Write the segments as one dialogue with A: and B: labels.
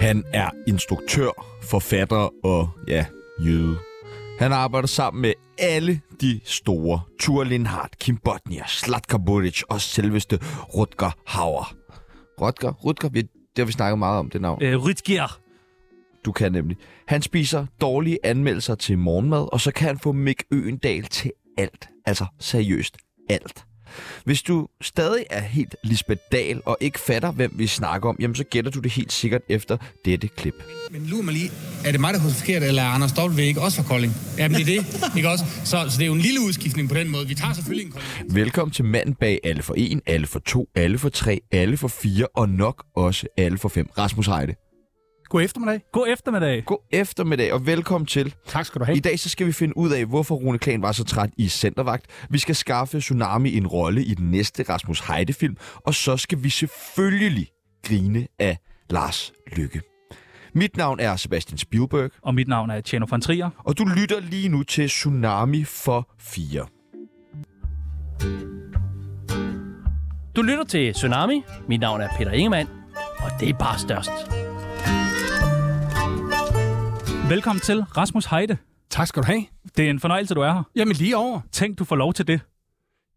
A: Han er instruktør, forfatter og, ja, jøde. Han arbejder sammen med alle de store. Tur Lindhardt, Kim Botnia, Slatka Buric og selveste Rutger Hauer. Rutger? Rutger? Vi, det har vi snakket meget om, det navn.
B: Øh, Rytger.
A: Du kan nemlig. Han spiser dårlige anmeldelser til morgenmad, og så kan han få Mick Øendal til alt. Altså seriøst alt. Hvis du stadig er helt Lisbeth Dahl og ikke fatter, hvem vi snakker om, jamen så gætter du det helt sikkert efter dette klip.
C: Men lur mig lige, er det mig, der husker forkert, eller er Anders W. ikke også fra Kolding? Jamen det er det, ikke også? Så, så det er jo en lille udskiftning på den måde. Vi tager selvfølgelig en Kolding.
A: Velkommen til manden bag alle for 1, alle for 2, alle for 3, alle for 4 og nok også alle for 5. Rasmus Heide.
D: God eftermiddag.
B: God eftermiddag.
A: God eftermiddag og velkommen til.
D: Tak skal du
A: I
D: have.
A: dag så skal vi finde ud af, hvorfor Rune Klan var så træt i Centervagt. Vi skal skaffe Tsunami en rolle i den næste Rasmus Heide-film. Og så skal vi selvfølgelig grine af Lars Lykke. Mit navn er Sebastian Spielberg,
B: Og mit navn er Tjeno von Trier.
A: og du lytter lige nu til Tsunami for 4.
E: Du lytter til Tsunami. Mit navn er Peter Ingemann, og det er bare størst.
B: Velkommen til Rasmus Heide.
D: Tak skal du have.
B: Det er en fornøjelse, du er her.
D: Jamen lige over.
B: Tænk, du får lov til det.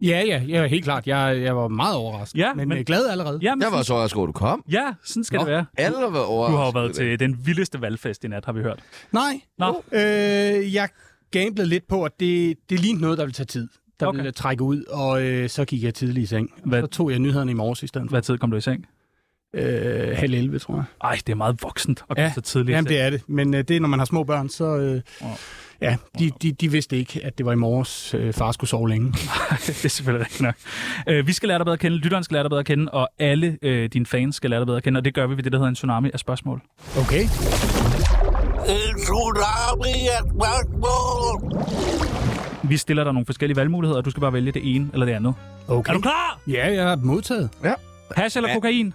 D: Ja, ja, ja helt klart. Jeg, jeg var meget overrasket.
B: Ja,
D: men,
B: men-
D: men glad allerede.
B: Jamen,
A: Jeg var så overrasket, over, at du kom.
B: Ja, sådan skal Nå.
D: Nå.
B: det være.
A: Alle var
B: Du
A: overrasket.
B: har jo været til den vildeste valgfest i nat, har vi hørt.
D: Nej.
B: Nå.
D: Øh, jeg gamblede lidt på, at det, det lignede noget, der ville tage tid. Der
B: Okay.
D: okay. ville trække ud, og øh, så gik jeg tidlig i seng.
B: Hvad-
D: Så tog jeg nyhederne i morges i stedet for.
B: Hvad tid kom du i seng?
D: Øh, halv 11, tror jeg.
B: Ej, det er meget voksent at komme ja. så tidligt. i
D: Jamen,
B: seng.
D: det er det. Men øh, det er, når man har små børn, så... Øh,
B: Wow.
D: Ja, de, de, de vidste ikke, at det var i morges, øh, far skulle sove længe.
B: det er selvfølgelig rigtigt nok. Øh, vi skal lære dig bedre at kende, lytteren skal lære dig bedre at kende, og alle øh, dine fans skal lære dig bedre at kende, og det gør vi ved det, der hedder en tsunami af spørgsmål.
D: Okay.
B: Vi stiller dig nogle forskellige valgmuligheder, og du skal bare vælge det ene eller det andet. Okay.
D: okay.
B: Er du klar?
D: Ja, jeg har modtaget.
B: Hash eller kokain?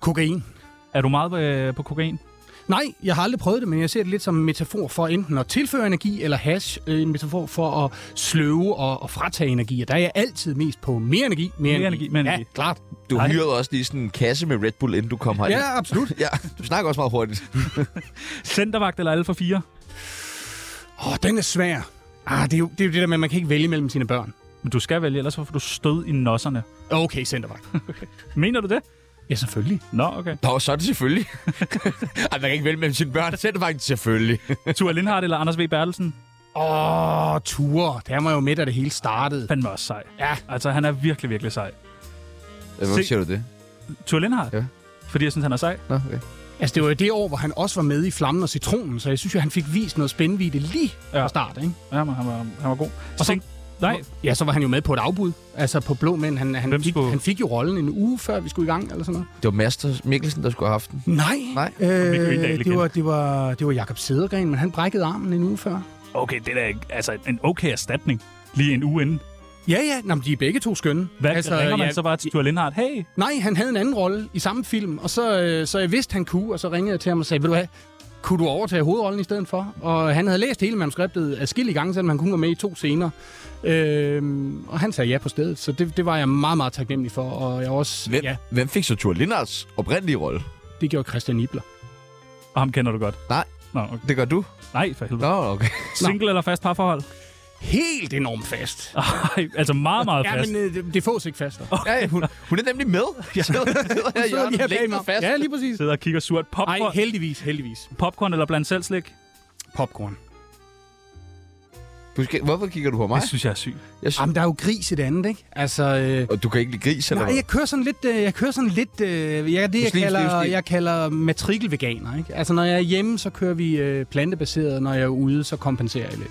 D: Kokain.
B: Er du meget øh, på kokain?
D: Nej, jeg har aldrig prøvet det, men jeg ser det lidt som en metafor for enten at tilføre energi eller hash. øh, En metafor for at sløve og, og fratage energi. Og der er jeg altid mest på mere energi, mere,
B: Mere energi, mere
D: ja,
B: energi.
D: klart.
A: Du
B: Ej.
A: hyrede også lige sådan en kasse med Red Bull, inden du kom herind.
D: Ja, absolut.
A: ja. Du snakker også meget hurtigt.
B: Centervagt eller alle for fire?
D: Åh, oh, den er svær. Ah, det er, jo, det er jo det der med, at man kan ikke vælge mellem sine børn.
B: Men du skal vælge, ellers så får du stød i nosserne.
D: Okay, centervagt.
B: Mener du det?
D: Ja, selvfølgelig.
B: Nå, okay.
A: Nå, så er det selvfølgelig. Ej, man kan ikke vælge mellem sine børn. Så er det faktisk selvfølgelig.
B: Tua Lindhardt eller Anders V. Bertelsen?
D: Åh, oh, ture. Der var jo med, da det hele startede.
B: Fandme også sej.
D: Ja.
B: Altså, han er virkelig, virkelig sej.
A: Hvorfor siger du det?
B: Tua Lindhardt?
A: Ja.
B: Fordi jeg synes, han er sej.
A: Nå, okay.
D: Altså, det var jo det år, hvor han også var med i Flammen og Citronen, så jeg synes jo, han fik vist noget spændvidde lige
B: Ja.
D: ja. fra start, ikke?
B: Ja, men han var, han var god.
D: Og så-
B: Tænk- Nej,
D: Ja, så var han jo med på et afbud, altså på Blå Mænd. Han,
B: Hvem
D: han, fik,
B: skulle-
D: han fik jo rollen en uge før, vi skulle i gang, eller sådan noget.
A: Det var Master Mikkelsen, der skulle have haft den.
D: Nej,
A: Nej.
B: Mikkel Øgendahl
D: øh,
B: igen.
D: det, var, det, var, det var Jakob Sædergren, men han brækkede armen en uge før.
B: okay, det er da ikke- altså en okay erstatning. Lige en uge inden.
D: Ja, ja, Nå, men de er begge to skønne.
B: Hvad altså, ringer man
D: ja,
B: så bare til Stuart Lindhardt? Hey,
D: Nej, han havde en anden rolle i samme film, og så, øh, så jeg vidste, han kunne, og så ringede jeg til ham og sagde, ved du hvad, kunne du overtage hovedrollen i stedet for? Og han havde læst hele manuskriptet adskillige gange, selvom han kun var med i to scener. Øhm, og han sagde ja på stedet, så det, det var jeg meget, meget taknemmelig for. Og jeg var også,
A: Hvem,
D: ja,
A: ja. hvem fik så Thor Lindards oprindelige rolle?
D: det gjorde Christian Nibler.
B: og ham kender du godt.
A: Nej.
B: Nå, okay.
A: Det gør du?
B: Nej, for helvede.
A: Nå, okay.
B: Single eller fast parforhold?
D: Helt enormt fast.
B: Ej, altså meget, meget
D: Ja,
B: fast.
D: men øh, det, det fås ikke fastere.
A: Ja, ja, hun, hun er nemlig med. Jeg sidder, sidder her i
D: sidder lige
A: hjørnet
D: her bag
A: længe
D: mig.
A: og fast.
D: Ja, lige præcis.
B: Sidder og kigger surt.
D: Ej,
B: Popcorn,
D: heldigvis, heldigvis.
B: popcorn eller blandt selv slik?
D: Popcorn.
A: Du skal, hvorfor kigger du på mig?
B: Det synes jeg er sygt.
A: Jeg synes,
D: Jamen, der er jo gris i det andet, ikke? Altså, øh,
A: og du kan ikke lide gris, eller
D: nej,
A: hvad?
D: jeg kører sådan lidt, øh, jeg kører sådan lidt, øh, jeg, det jeg
A: Muslimsk
D: kalder,
A: livsstil.
D: jeg kalder matrikelveganer, ikke? Altså, når jeg er hjemme, så kører vi øh, plantebaseret, når jeg er ude, så kompenserer jeg lidt.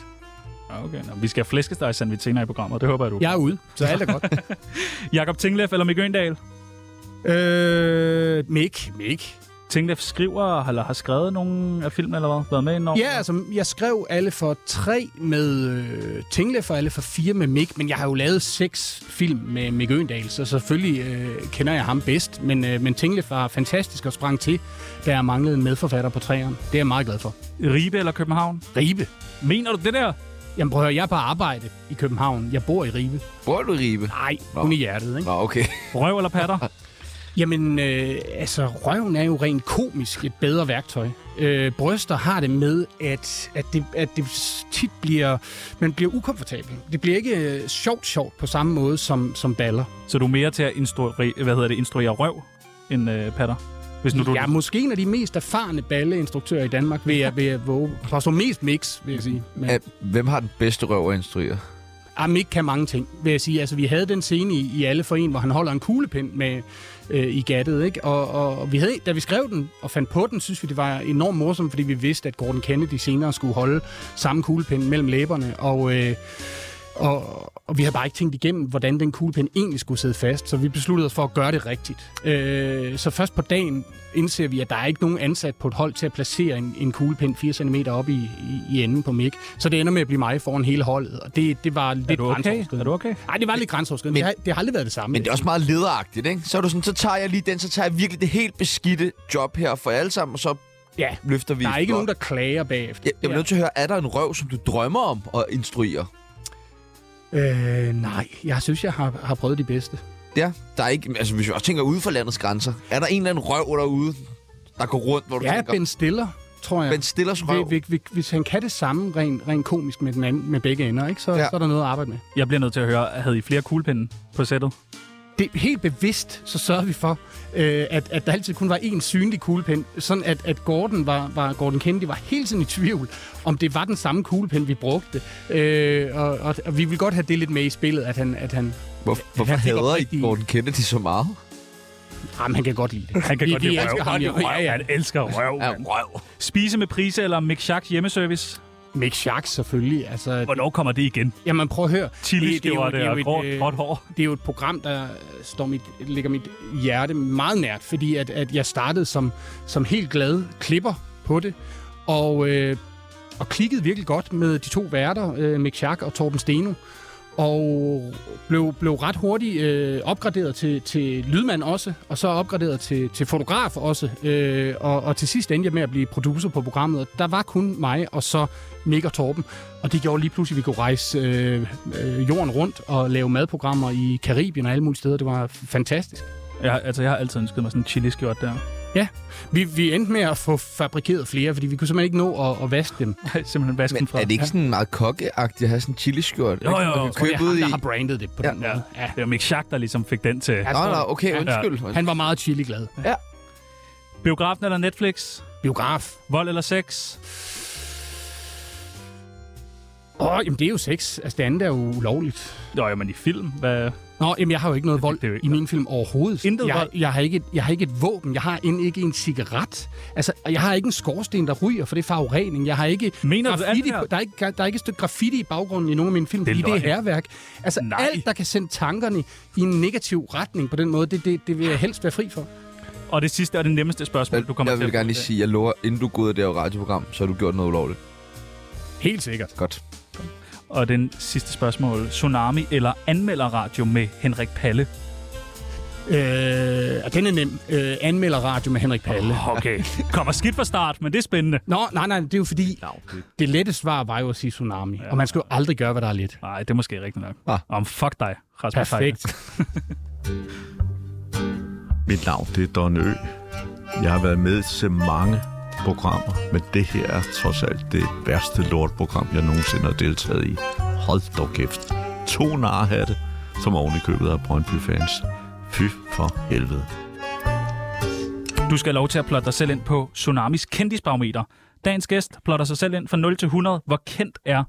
B: Nå, Ah, Okay, Nå, vi skal have flæskesteg sandwich senere i programmet. Det håber jeg, du.
D: Jeg er ude, så alt er godt.
B: Jakob Tingleff eller Mikke Øndal?
D: øh, Mik, Mik.
B: Tingleff skriver eller har skrevet nogen af filmen eller hvad? Været med i nogen?
D: Ja, altså, jeg skrev alle for tre med øh, Tingle, for alle for fire med Mik, men jeg har jo lavet seks film med Mik Øendal, så selvfølgelig øh, kender jeg ham bedst. Men, øh, men Tingle var fantastisk og sprang til, da jeg manglede en medforfatter på træerne. Det er jeg meget glad for.
B: Ribe eller København?
D: Ribe.
B: Mener du det der?
D: Jamen prøv at høre, jeg er på arbejde i København. Jeg bor i Ribe.
A: Bor du i ribe?
D: Nej, hun i hjertet, ikke?
A: Nå, okay.
B: Røv eller patter?
D: Jamen, øh, altså, røven er jo rent komisk et bedre værktøj. Øh, bryster har det med, at, at, det, at det tit bliver... Man bliver ukomfortabel. Det bliver ikke øh, sjovt sjovt på samme måde som, som baller.
B: Så du er mere til at instruere, hvad hedder det, instruere røv end øh, patter? Hvis nu du...
D: Jeg er måske en af de mest erfarne balleinstruktører i Danmark, vil jeg, vil jeg våge. Jeg så mest mix, vil jeg sige. Men,
A: Ja, Hvem har den bedste røv at instruere?
D: Jamen, ikke kan mange ting, vil jeg sige. Altså, vi havde den scene i, i Alle for en, hvor han holder en kuglepind med, øh, i gattet, ikke? Og, og, og vi havde, da vi skrev den og fandt på den, synes vi, det var enormt morsomt, fordi vi vidste, at Gordon Kennedy senere skulle holde samme kuglepind mellem læberne, og... Øh, og, og vi havde bare ikke tænkt igennem, hvordan den kuglepen egentlig skulle sidde fast, så vi besluttede os for at gøre det rigtigt. Øh, så først på dagen indser vi, at der er ikke nogen ansat på et hold til at placere en, en kuglepen 4 cm op i, i, i enden på mig. Så det ender med at blive mig foran hele holdet, og det, det var lidt
B: er du okay?
D: grænseoverskridende.
B: Er du okay?
D: Nej, det var lidt grænseoverskridende.
A: Men-
D: Det, har, det har aldrig været det samme.
A: Men det er også meget lederagtigt, ikke? Så er du sådan, så tager jeg lige den, så tager jeg virkelig det helt beskidte job her for jer alle sammen, og så
D: ja,
A: løfter vi.
D: der er
A: et
D: ikke
A: flot.
D: nogen, der klager bagefter.
A: Jeg, jeg er nødt til at høre, er der en røv, som du drømmer om at instruere?
D: Øh, nej, jeg synes, jeg har, har prøvet de bedste.
A: Ja, der er ikke... Altså, hvis vi også tænker ude for landets grænser, er der en eller anden røv derude, der går rundt, hvor du
D: Ja,
A: tænker...
D: Ben Stiller, tror jeg.
A: ben Stillers røv.
D: Hvis, hvis, hvis han kan det samme rent ren komisk med, den anden, med begge ender, ikke? Så,
A: Ja.
D: ja. så er der noget at arbejde med.
B: Jeg bliver nødt til at høre, havde I flere kuglepinde på sættet?
D: Det er helt bevidst, så sørgede vi for, øh, at, at der altid kun var én synlig kuglepen. Sådan at, at Gordon, var, var, Gordon Kennedy var hele tiden i tvivl, om det var den samme kuglepen, vi brugte. Øh, og, og, og vi ville godt have det lidt med i spillet, at han, at han,
A: Hvor, hvorfor
D: jeg fik
A: hader I
D: oprigtig-
A: Gordon Kennedy så meget?
D: jamen, han kan godt lide det.
B: Han kan
D: Vi-
B: godt
D: vi
B: lide røv.
D: elsker ham
B: Han,
D: jo.
B: røv.
D: Ja, ja.
B: han elsker røv.
A: Ja,
B: mand.
A: røv.
B: Spise med priser eller Mick Schack hjemmeservice?
D: Mick Schack selvfølgelig. Altså,
B: Hvornår kommer det igen?
D: jamen prøv at høre.
B: Chili
D: Det- det er jo- det er
B: det
D: jo
B: og
D: et,
B: gråt,
D: øh,
B: gråt hår.
D: det er jo et program, der øh, står mit, ligger mit hjerte meget nært, fordi at, at jeg startede som, som helt glad klipper på det, og, øh, og klikkede virkelig godt med de to værter, øh, Mick Schack og Torben Steno, og blev, blev ret hurtigt øh, opgraderet til, til lydmand også, og så opgraderet til, til fotograf også, øh, og, og til sidst endte jeg med at blive producer på programmet, og der var kun mig og så Mick og Torben, og det gjorde lige pludselig, at vi kunne rejse øh, øh, jorden rundt og lave madprogrammer i Karibien og alle mulige steder. Det var fantastisk.
B: Ja, altså, jeg har altid ønsket mig sådan en chili skjort der.
D: Ja, vi, vi endte med at få fabrikeret flere, fordi vi kunne simpelthen ikke nå at, at vaske dem.
B: Simpelthen vasken
A: Men
B: fra.
A: er det ikke sådan meget kokkeagtigt at have sådan en chiliskjort?
B: Jo, jo, jo.
A: Man kan
D: Og det er
A: købe ud
D: ham,
A: i...
D: der har brandet det på den
B: Ja.
D: måde. Ja.
B: Det var Mick Schack, der ligesom fik den til.
A: Nå, nå, okay, undskyld.
D: Han var meget chili-glad.
B: Biografen eller Netflix?
D: Biograf.
B: Vold eller sex?
D: Åh, jamen det er jo sex. Altså det andet er jo ulovligt.
B: Nå, jo, men i film. Hvad?
D: Nå, jamen jeg har jo ikke noget vold
B: det er jo ikke
D: i min film overhovedet.
B: Intet
D: jeg,
B: vold?
D: jeg, har ikke et, jeg har ikke et våben. Jeg har end ikke en cigaret. Altså, og jeg har ikke en skorsten, der ryger, for det er forurening. Jeg har ikke
B: Mener du alt
D: graffiti,
B: det her?
D: på, der, er ikke, der er ikke et stykke graffiti i baggrunden i nogen af mine film,
B: Det er
D: fordi det er
B: løgn.
D: herværk. Altså
B: Nej.
D: Nej. alt, der kan sende tankerne i en negativ retning på den måde, det, det, det vil jeg helst være fri for.
B: Og det sidste og det nemmeste spørgsmål, du kommer
A: Jeg
B: til
A: vil
B: at
A: gerne lige sige, jeg lover, inden du går ud af det her radioprogram, så har du gjort noget ulovligt.
D: Helt sikkert.
A: Godt.
B: Og den sidste spørgsmål. Tsunami eller anmelderradio med Henrik Palle?
D: Øh, og den er nem. Øh, anmelder radio med Henrik Palle.
B: Oh, okay. Kommer skidt fra start, men det er spændende.
D: Nå, nej, nej, det er jo fordi, det lette svar var jo at sige tsunami. Ja. Og man skal jo aldrig gøre, hvad der er let.
B: Nej, det er måske rigtigt nok.
A: Ah.
B: Om fuck dig, Rasmus Seidel.
D: Perfekt.
F: Mit navn det er Don Ø. Jeg har været med til mange programmer, men det her er trods alt det værste lortprogram, jeg nogensinde har deltaget i. Hold dog kæft. To narhatte, som oven i købet af Brøndby-fans. Fy for helvede.
B: Du skal have lov til at plotte dig selv ind på Tsunamis kendisbarometer. Dagens gæst plotter sig selv ind fra 0 til 100. Hvor kendt er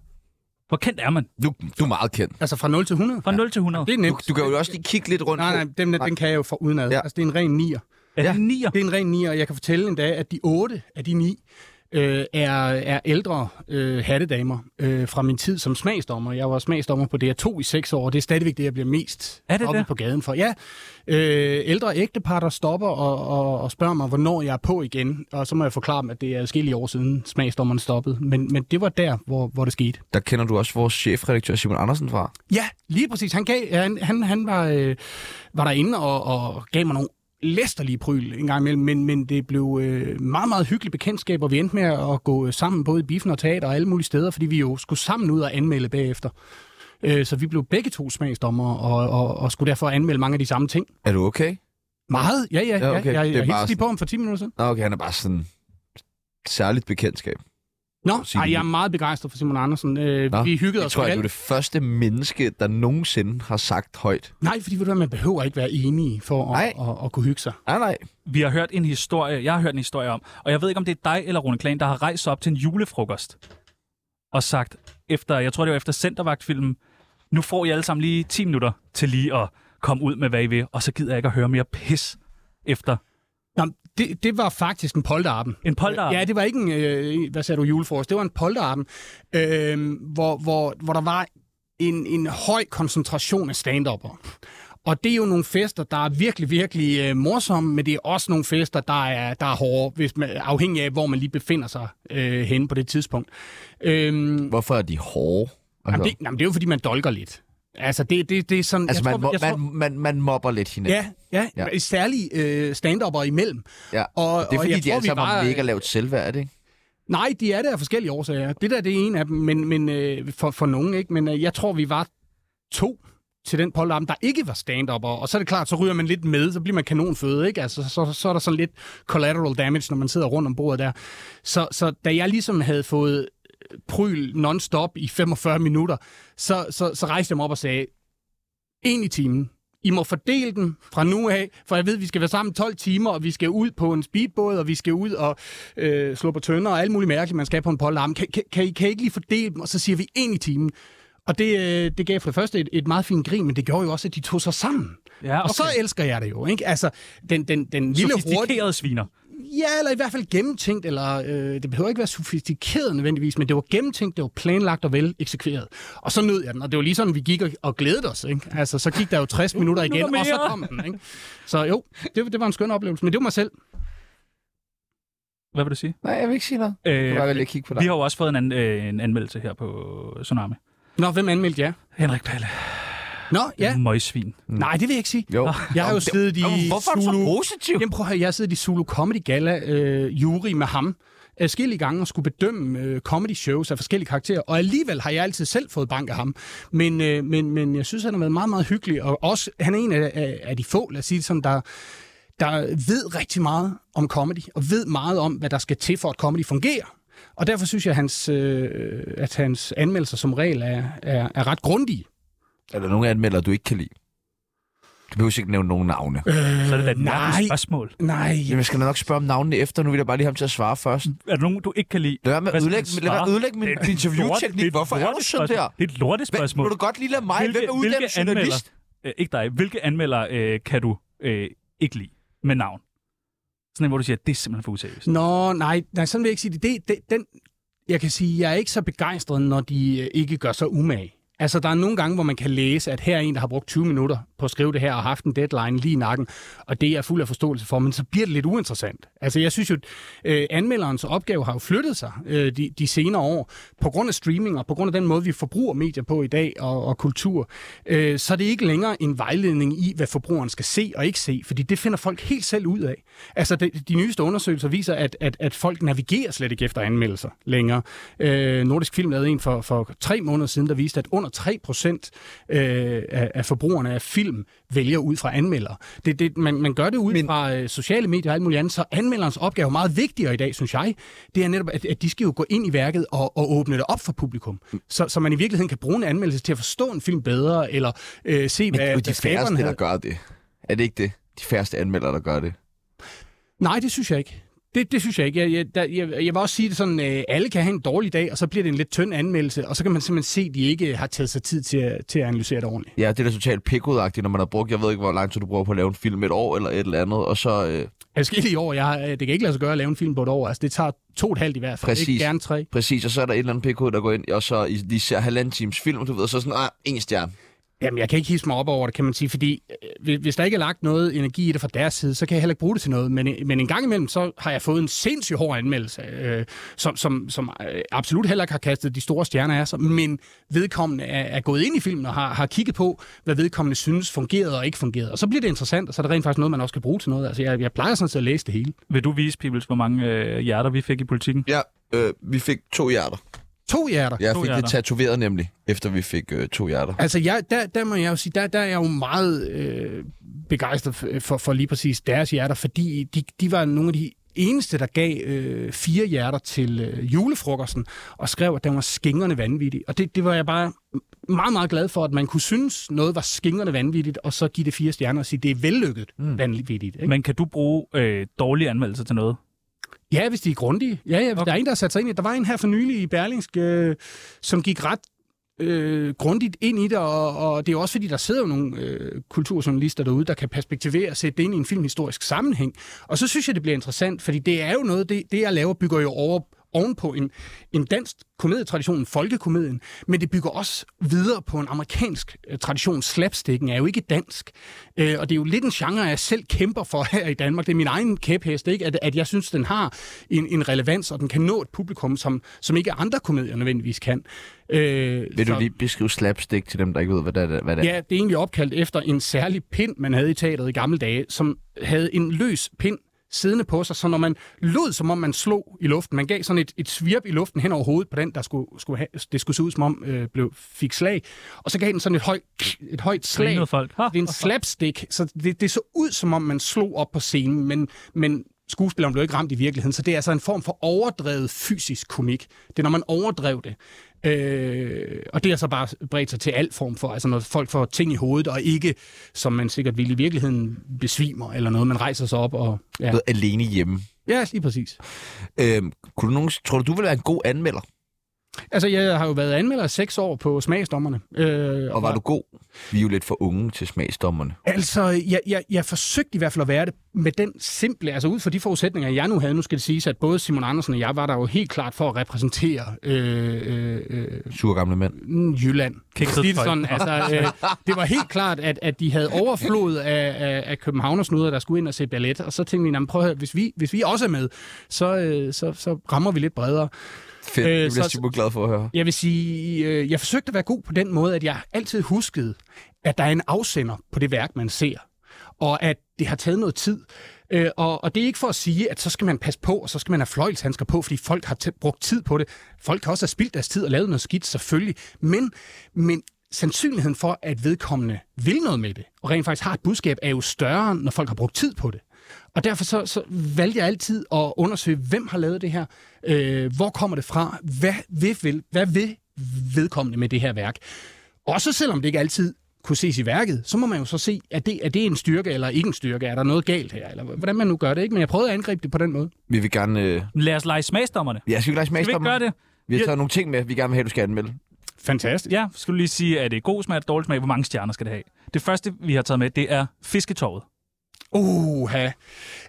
B: hvor kendt er man?
A: Du, du er meget kendt.
D: Altså fra 0 til 100?
B: Fra 0 til 100.
D: Det er
A: Du,
D: nemt.
A: du kan jo også lige kigge lidt rundt
D: Nej, nej,
A: på.
D: den, den kan jeg jo fra udenad.
A: Ja.
D: Ja. Altså, det er en ren nier.
B: Er det
A: Ja.
B: en nier?
D: Det er en ren nier, og jeg kan fortælle endda, at de otte af de ni øh, er, er ældre øh, hattedamer øh, fra min tid som smagsdommer. Jeg var smagsdommer på DR2 i seks år, og det er stadigvæk det, jeg bliver mest
B: Er det
D: oppe
B: det?
D: på gaden for. Ja, øh, ældre ægtepar, der stopper og, og, og spørger mig, hvornår jeg er på igen. Og så må jeg forklare dem, at det er forskellige år siden smagsdommeren stoppede. Men, men det var der, hvor, hvor det skete.
A: Der kender du også vores chefredaktør Simon Andersen fra.
D: Ja, lige præcis. Han, gav, han, han, han var, øh, var derinde og, og gav mig nogle læsterlige pryl en gang imellem, men, men det blev øh, meget, meget hyggeligt bekendtskab, og vi endte med at gå øh, sammen både i biffen og teater og alle mulige steder, fordi vi jo skulle sammen ud og anmelde bagefter. Øh, så vi blev begge to smagsdommer og, og, og skulle derfor anmelde mange af de samme ting.
A: Er du okay?
D: Meget, ja, ja.
A: Ja,
D: ja,
A: okay.
D: ja. Jeg,
A: Det er
D: jeg
A: bare
D: hilste lige på ham for 10 minutter siden.
A: Nå, okay, han er bare sådan særligt bekendtskab.
D: Nå,
A: Sig
D: ej,
A: det.
D: jeg er meget begejstret for Simon Andersen. Øh,
A: Nå,
D: vi hyggede
A: Jeg
D: os
A: tror, jeg, du
D: alt.
A: er det første menneske, der nogensinde har sagt højt.
D: Nej, fordi ved du hvad, man behøver ikke være enige for at,
A: Nej.
D: at, at, at kunne hygge sig.
A: Nej, nej.
B: Vi har hørt en historie, jeg har hørt en historie om, og jeg ved ikke, om det er dig eller Rune Klan, der har rejst sig op til en julefrokost og sagt, efter, jeg tror det var efter Centervagtfilmen, nu får I alle sammen lige 10 minutter til lige at komme ud med, hvad I vil, og så gider jeg ikke at høre mere pis efter
D: Nå, det, det var faktisk en polterappen.
B: en polter.
D: Ja, det var ikke en, øh, hvad sagde du, julefrokost. Det var en polterappen, øh, hvor, hvor, hvor der var en, en høj koncentration af stand Og det er jo nogle fester, der er virkelig, virkelig øh, morsomme, men det er også nogle fester, der er, der er hårde, hvis man, afhængig af, hvor man lige befinder sig øh, henne på det tidspunkt. Øhm,
A: Hvorfor er de hårde?
D: Jamen, det, jamen, det er jo, fordi man dolker lidt. Altså, det, det, det er sådan...
A: altså,
D: jeg
A: man,
D: tror,
A: mo-
D: jeg tror,
A: man, man, man mobber lidt hinanden.
D: Ja, ja,
A: Ja.
D: ja. særligt øh, stand-upper imellem.
A: ja.
D: og-
A: det er
D: og
A: fordi,
D: jeg
A: de
D: tror,
A: alle
D: vi
A: sammen har
D: var-
A: mega lavt selvværd, ikke?
D: Nej, de er der af forskellige årsager. Det der, det er en af dem, men, men øh, for, for nogen, ikke? Men øh, jeg tror, vi var to til den polterappen, der ikke var stand Og så er det klart, så ryger man lidt med, så bliver man kanonføde, ikke? Altså, så, så er der sådan lidt collateral damage, når man sidder rundt om bordet der. Så, så da jeg ligesom havde fået pryl non-stop i 45 minutter, så, så, så rejste jeg mig op og sagde, en i timen. I må fordele den fra nu af, for jeg ved, vi skal være sammen 12 timer, og vi skal ud på en speedbåd, og vi skal ud og øh, slå på tønder, og alt muligt mærkeligt, man skal på en polterarm. Kan, kan, kan, I, kan I ikke lige fordele dem? Og så siger vi en i timen. Og det, øh, det gav for det første et, et meget fint grin, men det gjorde jo også, at de tog sig sammen.
B: ja
D: Og så elsker jeg det jo, ikke? Altså, den, den, den lille hurtige...
B: Sofistikerede sviner.
D: Ja, eller i hvert fald gennemtænkt, eller øh, det behøver ikke være sofistikeret nødvendigvis, men det var gennemtænkt, det var planlagt og vel eksekveret. Og så nød jeg den, og det var lige sådan, vi gik og, og glædede os, ikke? Altså, så gik der jo 60 minutter
B: Nu er
D: igen,
B: der
D: og så
B: mere.
D: kom den, ikke? Så jo, det, det var en skøn oplevelse, men det var mig selv.
B: Hvad vil du sige?
A: Nej, jeg vil ikke sige noget. Jeg
B: Øh,
A: kan bare lige kigge på dig.
B: vi har jo også fået en, an, øh, en anmeldelse her på Tsunami.
D: Nå, hvem anmeldte jer?
B: Henrik Palle,
D: Nå, ja.
B: møgsvin.
D: Nej, det vil jeg ikke sige.
A: Jo.
D: Jeg har jo siddet i
A: Hvorfor er du så
D: Zulu...
A: positiv?
D: Jamen prøv at høre, jeg har siddet i Zulu Comedy Gala øh, jury med ham forskellige gange og skulle bedømme øh, comedy shows af forskellige karakterer, og alligevel har jeg altid selv fået bank af ham. Men, øh, men, men jeg synes, han har været meget, meget hyggelig, og også, han er en af, af, af de få, lad os sige det sådan, der, der ved rigtig meget om comedy, og ved meget om, hvad der skal til for, at comedy fungerer. Og derfor synes jeg, at hans, øh, at hans anmeldelser som regel er, er, er ret grundige.
A: Er der nogen anmelder, du ikke kan lide? Du behøver ikke nævne nogen navne. Øh.
B: Så er det da et
D: nej.
B: mærkeligt spørgsmål.
D: Nej,
A: Jamen, jeg skal nok spørge om navnene efter. Nu vil jeg bare lige have ham til at svare først.
B: Er der nogen, du ikke kan lide?
A: Lad være med
B: Hvad
A: at
B: skal
A: ødelægge,
B: man
A: lad være med at
B: svare?
A: ødelægge min
B: Det er et lort- det
A: interviewteknik.
B: et
A: Hvorfor er du sådan
B: lortespørgsmål.
A: der?
B: Det er et lortespørgsmål.
A: Vil du godt lige lade mig? Hvem er uddannet journalist?
B: Øh, ikke dig. Hvilke anmelder øh, kan du øh, ikke lide med navn? Sådan en, hvor du siger, det er simpelthen for useriøst.
D: Nå, nej, nej, sådan vil jeg ikke sige det. det, det den, jeg kan sige, jeg er ikke så begejstret, når de øh, ikke gør sig umage. Altså, der er nogle gange, hvor man kan læse, at her er en, der har brugt 20 minutter på at skrive det her og haft en deadline lige i nakken, og det er jeg fuld af forståelse for, men så bliver det lidt uinteressant. Altså, jeg synes jo, øh, anmelderens opgave har jo flyttet sig øh, de, de senere år, på grund af streaming og på grund af den måde, vi forbruger medier på i dag og, og kultur. Øh, så er det ikke længere en vejledning i, hvad forbrugeren skal se og ikke se, fordi det finder folk helt selv ud af. Altså, de, de nyeste undersøgelser viser, at, at, at folk navigerer slet ikke efter anmeldelser længere. Øh, Nordisk Film lavede en for, for tre måneder siden, der viste, at under 3 procent øh, af, af forbrugerne af film vælger ud fra anmeldere. Det, det, man, man gør det ud Men... fra øh, sociale medier og alt muligt andet, så anmelderens opgave er meget vigtigere i dag, synes jeg. Det er netop, at, at de skal jo gå ind i værket og, og åbne det op for publikum, så, så man i virkeligheden kan bruge en anmeldelse til at forstå en film bedre, eller øh, se,
A: Men
D: hvad,
A: det er jo
D: hvad
A: de
D: skaberen
A: færreste,
D: havde-
A: der gør det. Er det ikke det? De færreste anmeldere, der gør det.
D: Nej, det synes jeg ikke. Det, det synes jeg ikke. Jeg, jeg, der, jeg, jeg vil også sige det sådan, øh, alle kan have en dårlig dag, og så bliver det en lidt tynd anmeldelse, og så kan man simpelthen se, at de ikke har taget sig tid til at, til at analysere det ordentligt.
A: Ja, det er da totalt pikudagtigt, når man har brugt, jeg ved ikke, hvor lang tid du bruger på at lave en film, et år eller et eller andet, og så... Øh,
D: Altså, i år, jeg, har- øh, det kan ikke lade sig gøre at lave en film på et år. Altså, det tager to og et halvt i hvert fald.
A: Præcis.
D: Ikke gerne tre.
A: præcis, og så er der et eller andet pikkud, der går ind, og så i- de ser halvanden times film, du ved, og så er sådan, ah, en stjerne.
D: Jamen, jeg kan ikke hisse mig op over det, kan man sige, fordi øh, hvis- hvis der ikke er lagt noget energi i det fra deres side, så kan jeg heller ikke bruge det til noget. Men, øh, men en gang imellem, så har jeg fået en sindssygt hård anmeldelse, øh, som, som, som øh, absolut heller ikke har kastet de store stjerner af sig, men vedkommende er, er gået ind i filmen og har, har kigget på, hvad vedkommende synes fungerede og ikke fungerede. Og så bliver det interessant, og så er det rent faktisk noget, man også kan bruge til noget. Altså, jeg, jeg plejer sådan set at læse det hele.
B: Vil du vise, Pibels, hvor mange øh, hjerter vi fik i politikken?
A: Ja, øh, vi fik to hjerter.
D: To hjerter.
A: Jeg
B: To
A: fik
B: hjerter.
A: det tatoveret nemlig, efter vi fik øh, to hjerter.
D: Altså, jeg, der, der må jeg jo sige, der, der er jeg jo meget øh, begejstret f- for, for lige præcis deres hjerter, fordi de, de var nogle af de eneste, der gav øh, fire hjerter til øh, julefrokosten, og skrev, at den var skingerne vanvittig. Og det, det var jeg bare meget, meget glad for, at man kunne synes, noget var skingerne vanvittigt, og så give det fire stjerner og sige, det er vellykket mm. vanvittigt. Ikke?
B: Men kan du bruge øh, dårlige anmeldelser til noget?
D: Ja, hvis de er grundige. Ja, ja okay. der er en, der har sat sig ind i det. Der var en her for nylig i Berlingsk, øh, som gik ret øh, grundigt ind i det, og, og det er jo også fordi, der sidder jo nogle øh, kulturjournalister derude, der kan perspektivere og sætte det ind i en filmhistorisk sammenhæng. Og så synes jeg, det bliver interessant, fordi det er jo noget, det, det jeg laver, bygger jo over ovenpå en, en dansk komedietradition, folkekomedien, men det bygger også videre på en amerikansk øh, tradition. Slapsticken er jo ikke dansk, øh, og det er jo lidt en genre, jeg selv kæmper for her i Danmark. Det er min egen kæphest, ikke? At, at jeg synes, den har en, en relevans, og den kan nå et publikum, som, som ikke andre komedier nødvendigvis kan. Øh,
A: Vil
D: så-
A: du lige beskrive slapstick til dem, der ikke ved, hvad det er? Hvad det er?
D: Ja, det er egentlig opkaldt efter en særlig pind, man havde i teateret i gamle dage, som havde en løs pind siddende på sig, så når man lød, som om man slog i luften, man gav sådan et, et svirp i luften hen over hovedet på den, der skulle, skulle have, det skulle se ud som om øh, blev, fik slag, og så gav den sådan et, høj, et højt slag.
B: Grinede folk. Ha,
D: Det er en
B: ha, ha.
D: slapstick, så det, det så ud, som om man slog op på scenen, men, men skuespilleren blev ikke ramt i virkeligheden, så det er altså en form for overdrevet fysisk komik. Det er, når man overdrev det. Øh, og det er så bare bredt sig til al form for, altså når folk får ting i hovedet, og ikke, som man sikkert ville i virkeligheden, besvimer eller noget, man rejser sig op og... Ja,
A: Noget alene hjemme.
D: ja lige præcis.
A: Øhm, kunne du nogen, tror du, du ville være en god anmelder?
D: Altså, jeg har jo været anmelder i seks år på smagsdommerne. Øh,
A: Og var du god? Vi er jo lidt for unge til smagsdommerne.
D: Altså, jeg, jeg, jeg forsøgte i hvert fald at være det med den simple, altså ud fra de forudsætninger, jeg nu havde, nu skal det siges, at både Simon Andersen og jeg var der jo helt klart for at repræsentere øh, øh, øh,
A: Sur gamle mænd.
D: Jylland.
B: Kikset
D: Lige det
B: tøj.
D: sådan, altså, øh, det var helt klart, at, at de havde overflod af, af, af københavnersnuder, der skulle ind og se ballet, og så tænkte vi, "Nå, men prøv at høre, hvis vi, hvis vi også er med, så, øh, så, så rammer vi lidt bredere.
A: Fedt,
D: Øh,
A: øh, det bliver
D: så-
A: jeg super glad for at høre.
D: Jeg vil sige, øh, jeg forsøgte at være god på den måde, at jeg altid huskede, at der er en afsender på det værk, man ser. Og at det har taget noget tid. Øh, og, og det er ikke for at sige, at så skal man passe på, og så skal man have fløjlshandsker på, fordi folk har t- brugt tid på det. Folk har også have spildt deres tid og lavet noget skidt, selvfølgelig. Men, men sandsynligheden for, at vedkommende vil noget med det, og rent faktisk har et budskab, er jo større, når folk har brugt tid på det. Og derfor så, så valgte jeg altid at undersøge, hvem har lavet det her, øh, hvor kommer det fra, hvad vil, vil, hvad vil vedkommende med det her værk. Også selvom det ikke altid kunne ses i værket, så må man jo så se, er det, er det en styrke eller ikke en styrke? Er der noget galt her? Eller hvordan man nu gør det, ikke? Men jeg prøvede at angribe det på den måde.
A: Vi vil gerne... Øh...
B: Lad os lege smagsdommerne.
A: Ja, skal vi lege
B: Skal vi ikke
A: smagsdommerne?
B: gøre det?
A: Vi har
B: Ja.
A: taget nogle ting med, vi gerne vil have, du skal anmelde.
D: Fantastisk.
B: Ja, skal du lige sige, er det god smag eller dårlig smag? Hvor mange stjerner skal det have? Det første, vi har taget med, det er fisketorvet.
D: Oha.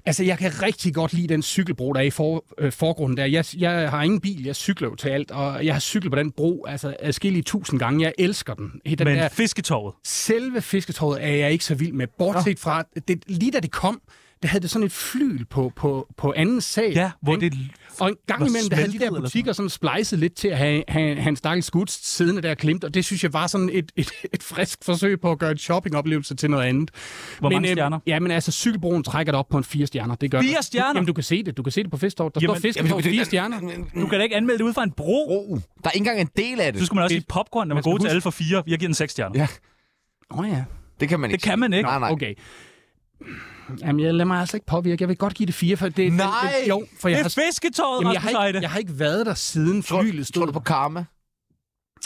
D: Altså, jeg kan rigtig godt lide den cykelbro, der er i for, øh, forgrunden der. Jeg, jeg har ingen bil, jeg cykler jo til alt, og jeg har cyklet på den bro, altså, adskillige tusind gange. Jeg elsker den. den
B: Men
D: der,
B: fisketorvet.
D: Selve fisketåret er jeg ikke så vild med, bortset fra, det, lige da det kom, der havde det sådan et flyl på, på, på anden sag.
B: Ja, hvor det...
D: Og en gang
B: var
D: imellem, der havde de
B: smeltet
D: der
B: eller
D: butikker sådan splicet lidt til at have, have, have en stakkels skuds siddende der klemt, og det synes jeg var sådan et, et, et frisk forsøg på at gøre en shoppingoplevelse til noget andet.
B: Hvor mange stjerner?
D: Ja, men altså, cykelbroen trækker det op på en fire stjerner. Det gør
B: Fire
D: det.
B: stjerner?
D: Jamen, du kan se det. Du kan se det på festtåret. Der
B: Jamen,
D: står fisketorv fire stjerner.
B: Du kan da ikke anmelde det ud fra en bro.
A: Oh, der er ikke engang en del af det.
B: Så skulle man også sige popcorn, når man
D: Man skal
B: går til
D: huske-
B: alle for fire. Jeg giver den seks stjerner.
A: Ja.
D: Åh oh, ja.
A: Det kan man ikke.
B: Det kan man ikke.
A: Nej, nej.
D: Okay. Jamen, jeg lader mig altså ikke påvirke. Jeg vil godt give det fire, for det...
A: Nej!
D: Det, det, jo, for jeg
B: Det
D: har
B: er fisketorvet,
D: Jamen, jeg
B: Rasmus
D: har, ikke,
B: Heide.
D: jeg har ikke været der siden
A: Tror,
D: flylet stod.
A: tror du på karma?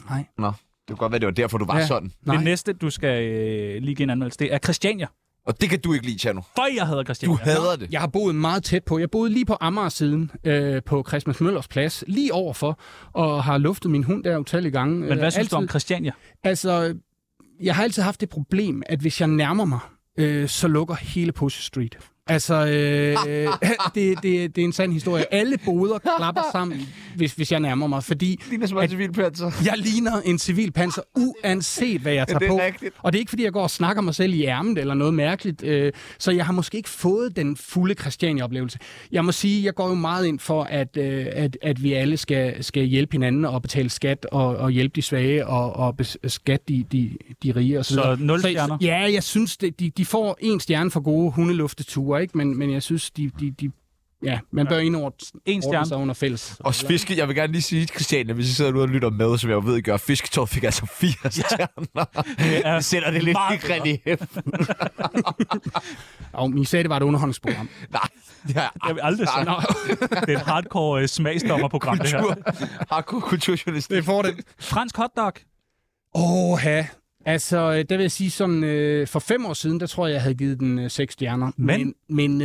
D: Nej.
A: Nå, det kunne godt være, det var derfor, du var
D: Ja.
A: ja. sådan.
D: Nej.
B: Det næste, du skal øh, lige give en anmeldelse, det er Christiania.
A: Og det kan du ikke lide, Tjerno.
B: For jeg hader
A: Du
B: Christiania.
A: ja. hader det.
D: Jeg har boet meget tæt på. Jeg boede lige på Amager-siden øh, på Christmas Møllers Plads, lige overfor, og har luftet min hund der utallige gange.
B: Men hvad
D: Øh,
B: synes du om Christiania?
D: Altså, jeg har altid haft det problem, at hvis jeg nærmer mig, øh, så lukker hele Pusher Street. Altså, øh, det, det, det er en sand historie. Alle boder klapper sammen, hvis, hvis jeg nærmer mig, fordi
A: Det ligner som en civilpanser.
D: Jeg ligner en civil panser, uanset hvad jeg tager
A: det er
D: på.
A: rigtigt.
D: Og det er ikke, fordi jeg går og snakker mig selv i ærmet eller noget mærkeligt. øh, Så jeg har måske ikke fået den fulde Christiania-oplevelse. Jeg må sige, jeg går jo meget ind for, at, øh, at, at vi alle skal, skal hjælpe hinanden og betale skat og, og hjælpe de svage og, og beskatte de, de, de rige og så,
B: Så
D: videre.
B: nul
D: Så-
B: stjerner?
D: Så, ja, jeg synes, det, de, de får en stjerne for gode hundelufteture, ikke? Men, men jeg synes, de, de, de Ja, man bør ind over
B: En stjerne.
D: sig under fælles.
A: Og fiske, jeg vil gerne lige sige, Christian, hvis I sidder ude og lytter med, som jeg jo ved, I gør, fisketår fik altså fire stjerner.
B: er
A: Vi sætter det lidt
B: meget
A: i relief.
D: Og I sagde, det var et underholdningsprogram.
A: Nej, det har
B: Jeg vil aldrig sige.
A: Nej.
B: Det er et hardcore øh, smagsdommerprogram, det her.
A: Kultur, hardcore kulturjournalist.
D: Det er fordel.
B: Fransk hotdog.
D: Åh, ja. Altså, øh, der vil jeg sige sådan, øh, for fem år siden, der tror jeg, jeg havde givet den øh, seks stjerner.
B: Men?
D: Men, men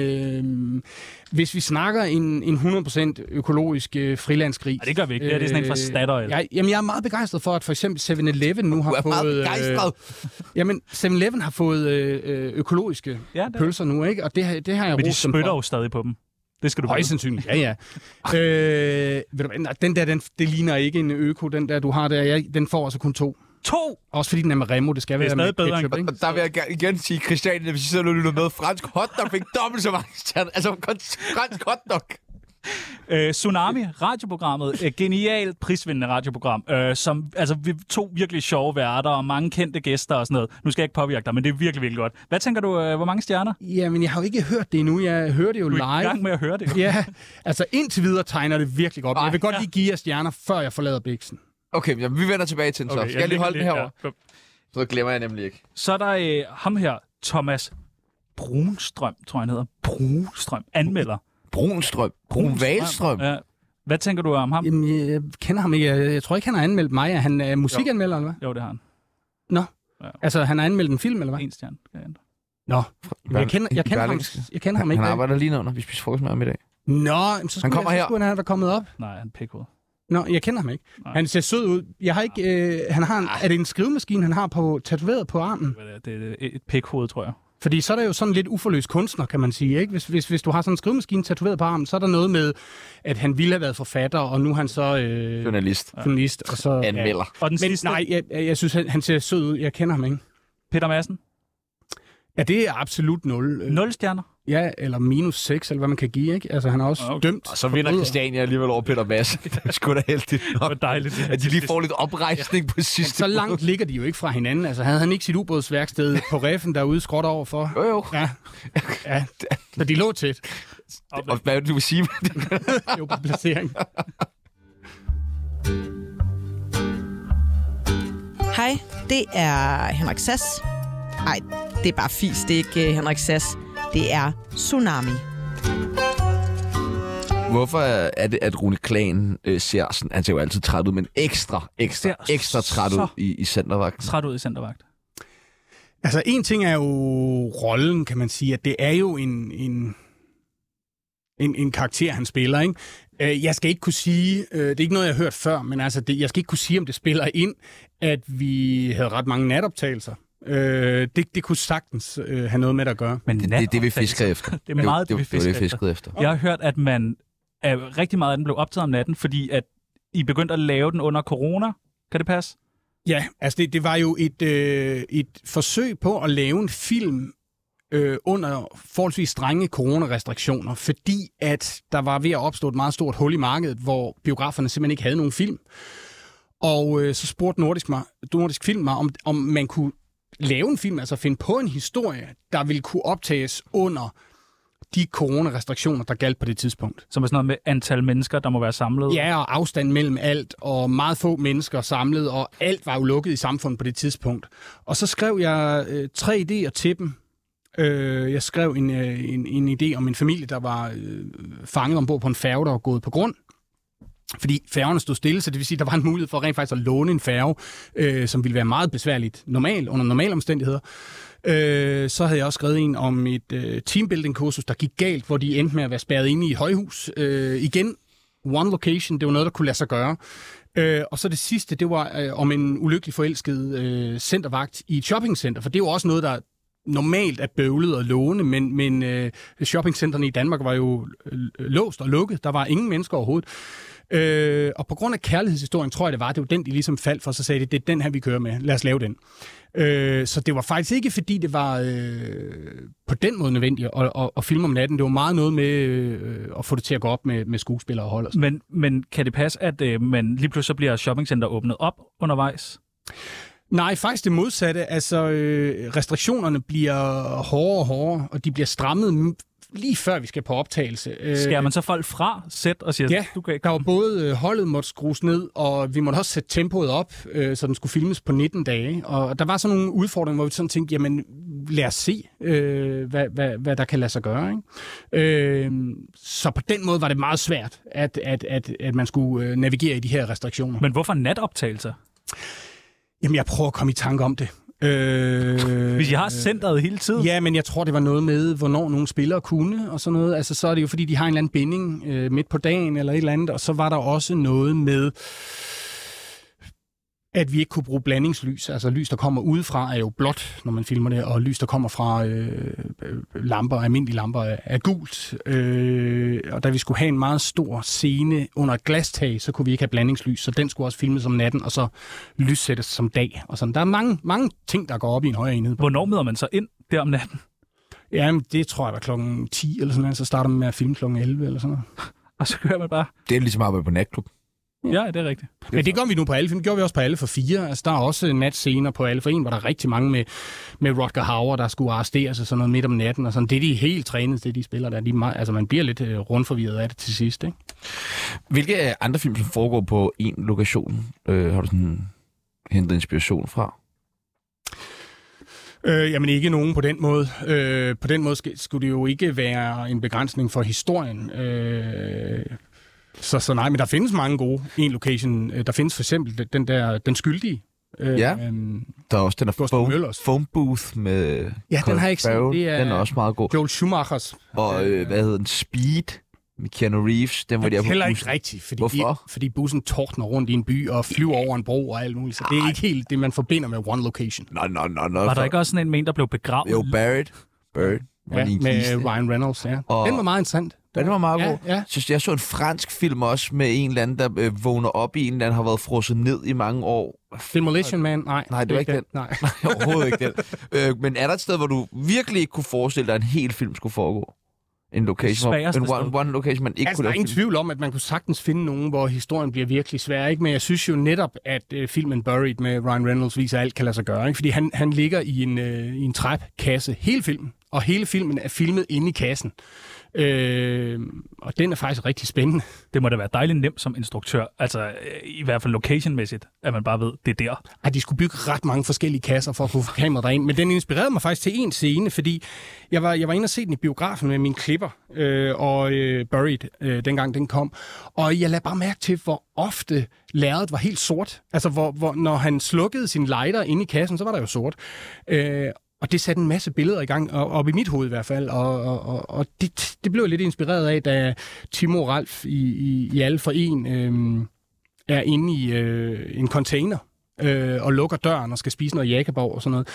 D: øh, hvis vi snakker en, en 100% økologisk øh, frilandsgris...
B: Nej, det gør vi ikke. Det her, det er sådan en fra
D: Øh,
B: Statoil.
D: Jeg, jamen, jeg er meget begejstret for, at for eksempel 7-Eleven nu har
A: Du er
D: fået...
A: meget begejstret.
D: Øh, jamen, 7-Eleven har fået øh, øh, økologiske
B: Ja, det er-
D: pølser nu, ikke? Og det, har- det har jeg
B: Men de
D: rost dem
B: spytter
D: for.
B: jo stadig på dem. Det skal du
D: Højst
B: vide.
D: sandsynligt, ja, ja. øh, ved du hvad, nej, den der, den, det ligner ikke en øko, den der, du har der. Jeg, den får altså kun to.
B: To!
D: Også fordi den er med Remo, det skal
B: Det er
D: være med
B: stadig bedre
D: ketchup,
B: end-
D: ikke?
A: Og der vil jeg gerne igen sige, Christian, hvis I sidder og lytter med, fransk hotdog fik dobbelt så mange stjerner. Altså, kon- fransk hotdog.
B: Øh, Tsunami, radioprogrammet. Øh, genialt prisvindende radioprogram. Øh, som, altså, vi to virkelig sjove værter og mange kendte gæster og sådan noget. Nu skal jeg ikke påvirke dig, men det er virkelig, virkelig godt. Hvad tænker du, øh, hvor mange stjerner?
D: Ja, men jeg har jo ikke hørt det endnu. Jeg hører det jo
B: Du
D: live.
B: er i gang med at høre det.
D: Ja, altså indtil videre tegner det virkelig godt. Men Jeg vil godt lige give jer stjerner, før jeg forlader Bixen.
A: Okay, men vi vender tilbage til den så. Skal jeg lige holde den
B: ligger
A: herovre?
B: lidt- ja.
A: Så glemmer jeg nemlig ikke.
B: Så er der øh, ham her, Thomas Brunstrøm, tror jeg han hedder. Brunstrøm, anmelder.
A: Brunstrøm. Brun Valstrøm.
B: Ja. Hvad tænker du om ham?
D: Jamen, jeg kender ham ikke. Jeg, jeg tror ikke, han har anmeldt mig. Er han er musikanmelder, eller hvad?
B: Jo, det har han.
D: Nå.
B: Ja.
D: Altså, han har anmeldt en film, eller hvad?
B: En stjerne. skal jeg ændre.
D: Nå. Jeg kender, jeg kender, ham, jeg kender ham
A: Han
D: ikke.
A: arbejder lige nu, når vi spiser frokost med ham i dag.
D: Nå, jamen, så skulle,
A: kommer
D: jeg,
A: her.
D: så skulle han have kommet op.
B: Nej, han er pikhoved.
D: Nå, jeg kender ham ikke.
B: Nej.
D: Han ser sød ud. Jeg har ikke... Øh, han har en,
A: Ah.
D: er det en skrivemaskine, han har på, tatoveret på armen?
B: Hvad er Det Det er et pikhoved, tror jeg.
D: Fordi så er der jo sådan lidt uforløst kunstner, kan man sige. Ikke? Hvis, hvis, hvis du har sådan en skrivemaskine tatoveret på armen, så er der noget med, at han ville have været forfatter, og nu er han så øh,
A: Journalist.
D: journalist. Og så,
A: Anmelder.
B: Og den
D: Ja. Men
B: sidste,
D: nej, jeg, jeg jeg synes, han, han ser sød ud. Jeg kender ham ikke.
B: Peter Madsen.
D: Ja, det er absolut nul. Øh,
B: Nul stjerner.
D: Ja, eller minus 6, eller hvad man kan give. Ikke? Altså, han er også
B: Okay.
D: okay. dømt.
A: Og så vinder
D: forbryder.
A: Christiania alligevel over Peter Madsen. Det er sgu da heldigt
B: Det
A: nok,
B: var dejligt. det her.
A: at de lige får lidt oprejsning på sidste.
D: Så langt ligger de jo ikke fra hinanden. Altså, havde han ikke sit ubådsværksted på reffen derude skråt overfor?
A: Jo, jo.
D: Ja. ja. Så de lå tæt.
A: Og hvad er det, du vil sige med det?
D: Jo, på placering.
G: Hej, det er Henrik Sass. Nej, det er bare fis, det er ikke øh, Henrik Sass. Det er Tsunami.
A: Hvorfor er det, at Rune Klagen øh, ser sådan, han ser jo altid træt ud, men ekstra, ekstra,
B: Ser
A: ekstra træt
B: så-
A: ud i, i centervagten?
B: Træt ud i centervagt.
D: Altså, en ting er jo rollen, kan man sige, at det er jo en, en, en, en karakter, han spiller, ikke? Øh, Jeg skal ikke kunne sige, øh, det er ikke noget, jeg har hørt før, men altså, det, jeg skal ikke kunne sige, om det spiller ind, at vi havde ret mange natoptagelser. Øh, det, det kunne sagtens øh, have noget med det at gøre.
B: Men
A: Det, det er det, vi fisker efter.
B: Det er meget
A: det,
B: det, vi
A: det, det,
B: fisker
A: det, vi
B: efter.
A: fiskede efter.
B: Jeg har hørt, at man at rigtig meget af den blev optaget om natten, fordi at I begyndte at lave den under corona. Kan det passe?
D: Ja, altså det, det var jo et, øh, et forsøg på at lave en film øh, under forholdsvis strenge coronarestriktioner, fordi at der var ved at opstå et meget stort hul i markedet, hvor biograferne simpelthen ikke havde nogen film. Og øh, så spurgte Nordisk, mig, Nordisk Film mig, om, om man kunne lave en film, altså finde på en historie, der ville kunne optages under de coronarestriktioner, der galt på det tidspunkt.
B: Som er sådan noget med antal mennesker, der må være samlet.
D: Ja, og afstand mellem alt, og meget få mennesker samlet, og alt var jo lukket i samfundet på det tidspunkt. Og så skrev jeg øh, tre idéer til dem. Øh, jeg skrev en, øh, en, en idé om en familie, der var øh, fanget ombord på en færge, der var gået på grund. Fordi færgerne stod stille, så det vil sige, at der var en mulighed for rent faktisk at låne en færge, øh, som ville være meget besværligt normal, under normale omstændigheder. Øh, så havde jeg også skrevet en om et øh, teambuilding-kursus, der gik galt, hvor de endte med at være spærret inde i et højhus. Øh, igen, one location, det var noget, der kunne lade sig gøre. Øh, og så det sidste, det var øh, om en ulykkelig forelsket øh, centervagt i et shoppingcenter, for det er jo også noget, der normalt er bøvlet og låne, men, men øh, shoppingcenterne i Danmark var jo øh, låst og lukket. Der var ingen mennesker overhovedet. Øh, og på grund af kærlighedshistorien, tror jeg det var, det var den, de ligesom faldt for, så sagde de, det er den her, vi kører med. Lad os lave den. Øh, så det var faktisk ikke, fordi det var øh, på den måde nødvendigt at, at, at filme om natten. Det var meget noget med øh, at få det til at gå op med, med skuespillere og hold og sådan.
B: Men, men kan det passe, at øh, man lige pludselig så bliver shoppingcenter åbnet op undervejs?
D: Nej, faktisk det modsatte. Altså, øh, restriktionerne bliver hårdere og hårdere, og de bliver strammet m- lige før vi skal på optagelse. Øh,
B: Skærer man så folk fra sæt og siger,
D: Ja,
B: du kan ikke
D: der var både øh, holdet måtte skrues ned, og vi måtte også sætte tempoet op, øh, så den skulle filmes på 19 dage. Og der var sådan nogle udfordringer, hvor vi sådan tænkte, jamen lad os se, øh, hvad, hvad, hvad der kan lade sig gøre. Ikke? Øh, så på den måde var det meget svært, at, at, at, at man skulle øh, navigere i de her restriktioner.
B: Men hvorfor natoptagelser?
D: Jamen jeg prøver at komme i tanke om det. Øh,
B: Hvis jeg har centret hele tiden.
D: Ja, men jeg tror, det var noget med, hvornår nogle spillere kunne og sådan noget. Altså, så er det jo, fordi de har en eller anden binding øh, midt på dagen eller et eller andet. Og så var der også noget med, at vi ikke kunne bruge blandingslys. Altså, lys, der kommer udefra, er jo blåt, når man filmer det, og lys, der kommer fra øh, øh, lamper, almindelige lamper, er, er gult. Øh, og da vi skulle have en meget stor scene under et glastag, så kunne vi ikke have blandingslys, så den skulle også filmes om natten, og så lyssættes som dag. Og sådan. Der er mange, mange ting, der går op i en højere enhed.
B: Hvornår møder man så ind der om natten?
D: Jamen, det tror jeg var klokken 10 eller sådan noget. Så starter man med at filme klokken 11 eller sådan noget.
B: Og så kører man bare,
A: Det er ligesom at arbejde på natklub.
B: ja, det er rigtigt.
D: Men det gør vi nu på alle film. Det gjorde vi også på alle for fire. Altså, der er også natscener på alle for en, hvor der er rigtig mange med, med Rodger Hauer, der skulle arresteres og sådan noget midt om natten. Og sådan. Det er de helt trænet, det de spiller der. De er meget, altså, man bliver lidt øh, rundforvirret af det til sidst. Ikke?
A: Hvilke øh, andre film, som foregår på én lokation, øh, har du sådan hentet inspiration fra?
D: Øh, jamen ikke nogen på den måde. Øh, på den måde sk- skulle det jo ikke være en begrænsning for historien. Øh, så, så nej, men der findes mange gode en location. Øh, Der findes for eksempel den der, den skyldige. Øh,
A: Ja.
D: øhm,
A: Der er også den der
D: Gustav
A: foam,
D: Møllers.
A: foam booth med
D: Ja, den har jeg ikke set.
A: Farrell.
D: Det er-
A: Den er også meget god.
D: Joel Schumachers.
A: Og øh, hvad hedder den? Speed med Keanu Reeves. Den var
D: Det
A: der
D: er
A: på
D: heller
A: bussen.
D: ikke rigtigt, fordi,
A: Hvorfor?
D: De, fordi bussen tordner rundt i en by og flyver over en bro og alt muligt, så det er ikke helt det, man forbinder med one location.
A: Nå, nå, nå, nå.
B: Var der
A: for-
B: ikke også sådan en med en, der blev begravet?
A: Jo, Barrett. Barrett.
D: Ja,
A: i en kiste.
D: med øh, Ryan Reynolds, ja.
A: Og-
D: Den var meget interessant.
A: Ja, det var meget
D: Ja,
A: god.
D: ja.
A: Synes, jeg så en fransk film også med en eller anden, der øh, vågner op i en eller anden, har været frosset ned i mange år.
D: Demolition Man, nej.
A: Nej, det var ikke
D: den. Nej.
A: Overhovedet ikke den. Øh, men er der et sted, hvor du virkelig ikke kunne forestille dig, at en hel film skulle foregå? En location, hvor,
B: Sværeste
A: en one,
B: sted.
A: one location, man ikke
D: Altså, der
A: kunne
D: er
A: lave
D: ingen
A: film.
D: tvivl om, at man kunne sagtens finde nogen, hvor historien bliver virkelig svær, ikke? Men jeg synes jo netop, at øh, filmen Buried med Ryan Reynolds viser, at alt kan lade sig gøre, ikke? Fordi han, han ligger i en, øh, i en træpkasse hele filmen, og hele filmen er filmet inde i kassen. Øh, og den er faktisk rigtig spændende.
B: Det må da være dejligt nemt som instruktør. Altså, øh, i hvert fald location-mæssigt, at man bare ved, det er der.
D: at de skulle bygge ret mange forskellige kasser for at kunne få kameraet derind. Men den inspirerede mig faktisk til en scene, fordi jeg var, jeg var inde og se den i biografen med min klipper øh, og øh, Buried, øh, dengang den kom. Og jeg lagde bare mærke til, hvor ofte lærredet var helt sort. Altså, hvor, hvor, når han slukkede sin lighter inde i kassen, så var der jo sort. Øh, og det satte en masse billeder i gang, og, op i mit hoved i hvert fald. Og, og, og, og det, det blev jeg lidt inspireret af, da Timo og Ralf i, i, i Alle for En øh, er inde i øh, en container øh, og lukker døren og skal spise noget jakkeborg og sådan noget.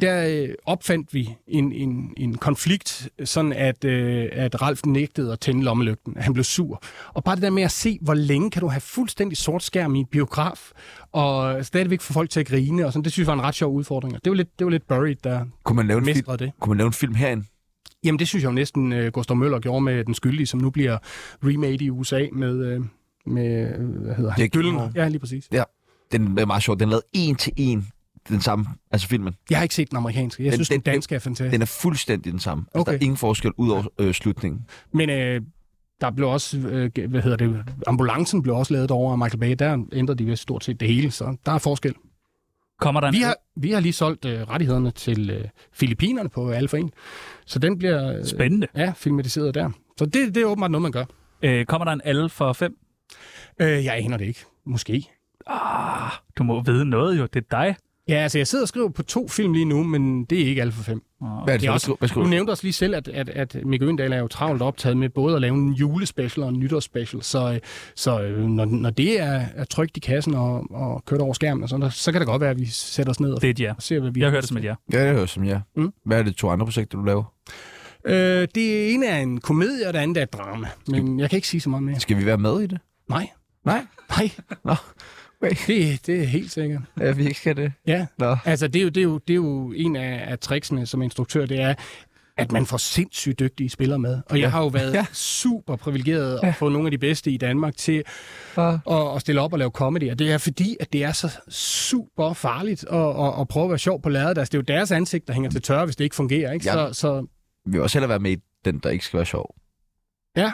D: Der øh, opfandt vi en, en, en konflikt, sådan at, øh, at Ralf nægtede at tænde lommelygten. Han blev sur. Og bare det der med at se, hvor længe kan du have fuldstændig sort skærm i en biograf, og stadigvæk få folk til at grine, og sådan, det synes jeg var en ret sjov udfordring. Og det var lidt, det var lidt buried, der
A: Kunne man lave en film,
D: mestrede det.
A: kunne man lave en film herinde?
D: Jamen det synes jeg jo næsten, øh, Gustav Møller gjorde med Den Skyldige, som nu bliver remade i USA med, øh, med øh, hvad hedder han?
A: Jake
D: Gyllenhaal.
A: Gyllenhaal.
D: Ja, lige præcis.
A: Den er meget sjov. Den er lavet en til en den samme, altså filmen.
D: Jeg har ikke set den amerikanske. Jeg
A: Den-
D: synes,
A: den-
D: den, den danske er fantastisk.
A: Den er fuldstændig den samme. Altså, Der er
D: Okay.
A: ingen forskel ud over øh, slutningen.
D: Men øh, der blev også, øh, g- hvad hedder det, ambulancen blev også lavet over af Michael Bay. Der ændrede de vist stort set det hele, så der er forskel.
B: Kommer der en
D: Vi har, vi har lige solgt øh, rettighederne til øh, Filippinerne på Alfa 1, så den bliver øh,
B: Spændende.
D: ja, filmatiseret der. Så det, det er åbenbart noget, man gør.
B: Øh, kommer der en alle for fem?
D: Øh, jeg aner det ikke. Måske.
B: Ah, du må vide noget jo. Det er dig.
D: Ja, altså jeg sidder og skriver på to film lige nu, men det er ikke Alfa 5.
B: Åh,
A: Hvad er det, Mm.
D: Det er
A: for-
D: også,
A: hvad skal
D: du
A: du-
D: nævnte også lige selv, at, at, at Mikke Øndal er jo travlt optaget med både at lave en julespecial og en nytårsspecial, så, øh, så øh, når, når det er, er trygt i kassen og, og kørt over skærmen, og sådan, der, så kan det godt være, at vi sætter os ned og
B: Det er et ja.
D: ser, hvad vi
B: Jeg hørte det som et ja.
A: Ja, det hører som ja.
D: Mm.
A: Hvad er det to andre projekter, du laver?
D: Øh, det ene er en komedie, og det andet er et drama, men jeg kan ikke sige så meget mere.
A: Skal vi være med i det?
D: Nej,
A: Nej,
D: nej,
A: Nå, okay.
D: det, det er helt sikkert.
A: ja, vi ikke skal det.
D: Ja,
A: Nå.
D: altså det er jo, det er jo, det er jo en af, af tricksene som instruktør, det er, at man får sindssygt dygtige spillere med. Og jeg har jo været
A: Ja.
D: ja. super privilegeret at få nogle af de bedste i Danmark til
A: Ja.
D: at, at stille op og lave comedy. Og det er fordi, at det er så super farligt at, at, at prøve at være sjov på lærredet. Altså, det er jo deres ansigt, der hænger til tørre, hvis det ikke fungerer. Ikke?
A: Ja.
D: Så, så
A: Vi vil også hellere være med i et den, der ikke skal være sjov.
D: Ja,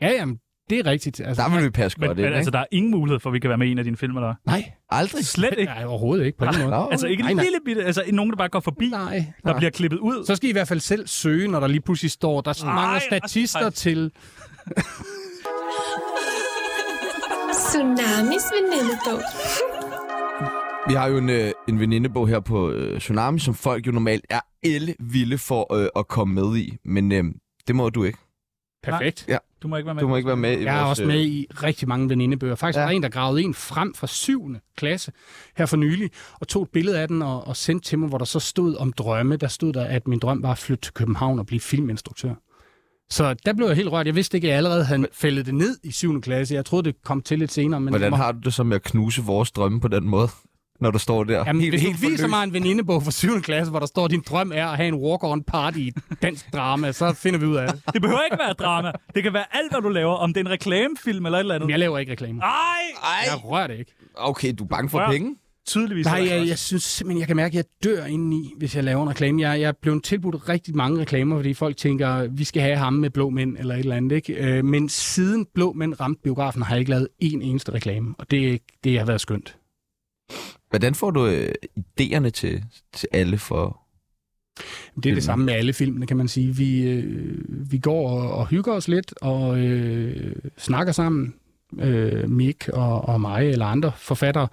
D: jamen, det er rigtigt. Altså,
A: Der vil vi passe
B: Men,
A: godt
B: men
A: ind,
B: altså,
A: ikke?
B: der er ingen mulighed for, at vi kan være med i en af dine filmer, der.
D: nej,
A: Aldrig.
B: Slet ikke.
D: nej, overhovedet ikke på den måde.
A: Nå,
B: Altså ikke
D: Nej,
B: en
D: nej.
B: lille bitte, altså nogen, der bare går forbi,
D: Nej,
B: der
D: nej.
B: bliver klippet ud.
D: Så skal I i hvert fald selv søge, når der lige pludselig står, der
B: Ej,
D: mangler
B: Rasmus,
D: statister
B: ej.
D: til...
H: Tsunamis venindebog.
A: Vi har jo en, øh, en venindebog her på øh, Tsunami, som folk jo normalt er elle vilde for øh, at komme med i. Men øh, det må du ikke.
D: Perfekt.
B: Du må ikke være med.
A: Du må ikke være med i
D: Jeg er
A: vores,
D: også
A: øh,
D: med i rigtig mange venindebøger. Faktisk
A: Ja.
D: ja. var der en, der gravede en frem fra 7. klasse her for nylig, og tog et billede af den og, og sendte til mig, hvor der så stod om drømme. Der stod der, at min drøm var at flytte til København og blive filminstruktør. Så der blev jeg helt rørt. Jeg vidste ikke, at jeg allerede havde fældet det ned i 7. klasse. Jeg troede, det kom til lidt senere. Men
A: Hvordan
D: må-
A: har du det så med at knuse vores drømme på den måde, når du står der?
D: Jamen, helt, hvis du viser
A: forløst?
D: mig en venindebog fra 7. klasse, hvor der står, at din drøm er at have en walk-on party i dansk drama, så finder vi ud af det.
B: Det behøver ikke være drama. Det kan være alt, hvad du laver, om det er en reklamefilm eller et eller andet.
D: Men jeg laver ikke reklamer.
B: Nej,
D: Jeg rører det ikke.
A: Okay, du er bange for
B: Rør.
A: penge?
B: tydeligvis.
D: Nej,
B: heller ikke
D: jeg,
B: også.
D: jeg synes simpelthen, jeg kan mærke, at jeg dør indeni, hvis jeg laver en reklame. Jeg, jeg er blevet tilbudt rigtig mange reklamer, fordi folk tænker, vi skal have ham med blå mænd eller et eller andet. Ikke? Øh, Men siden blå mænd ramte biografen, har jeg ikke lavet én eneste reklame, og det, det har været skønt.
A: Hvordan får du øh, idéerne til, til alle for...
D: Det er
A: Filmen.
D: det samme med alle filmene, kan man sige. Vi, øh, vi går og, og hygger os lidt og øh, snakker sammen, øh, Mik og, og mig eller andre forfattere.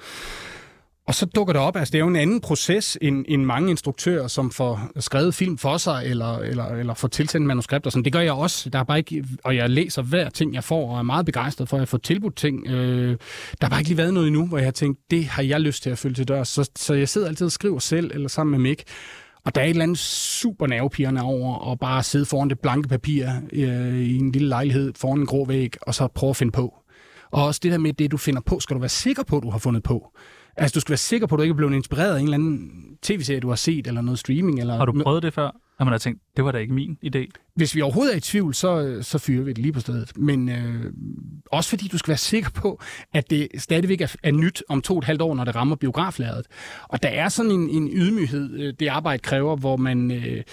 D: Og så dukker det op, altså det er jo en anden proces end, end mange instruktører, som får skrevet film for sig, eller, eller, eller får tilsendt manuskripter. Sådan. Det gør jeg også, der er bare ikke, og jeg læser hver ting, jeg får, og er meget begejstret for, at jeg får tilbudt ting. Øh, der har bare ikke lige været noget endnu, hvor jeg har tænkt, det har jeg lyst til at følge til dørs. Så, så jeg sidder altid og skriver selv, eller sammen med Mik, og der er et eller andet super nervepirrende over at bare sidde foran det blanke papir øh, i en lille lejlighed foran en grå væg, og så prøve at finde på. Og også det der med, det du finder på, skal du være sikker på, du har fundet på. Altså, du skal være sikker på, at du ikke er blevet inspireret af en eller anden tv-serie, du har set, eller noget streaming. Eller
B: Har du prøvet det før? Har man har tænkt, det var da ikke min idé.
D: hvis vi overhovedet er i tvivl, så, så fyrer vi det lige på stedet. Men øh, også fordi du skal være sikker på, at det stadigvæk er, er nyt om to og et halvt år, når det rammer biografladet. Og der er sådan en, en ydmyghed, øh, det arbejde kræver, hvor man øh,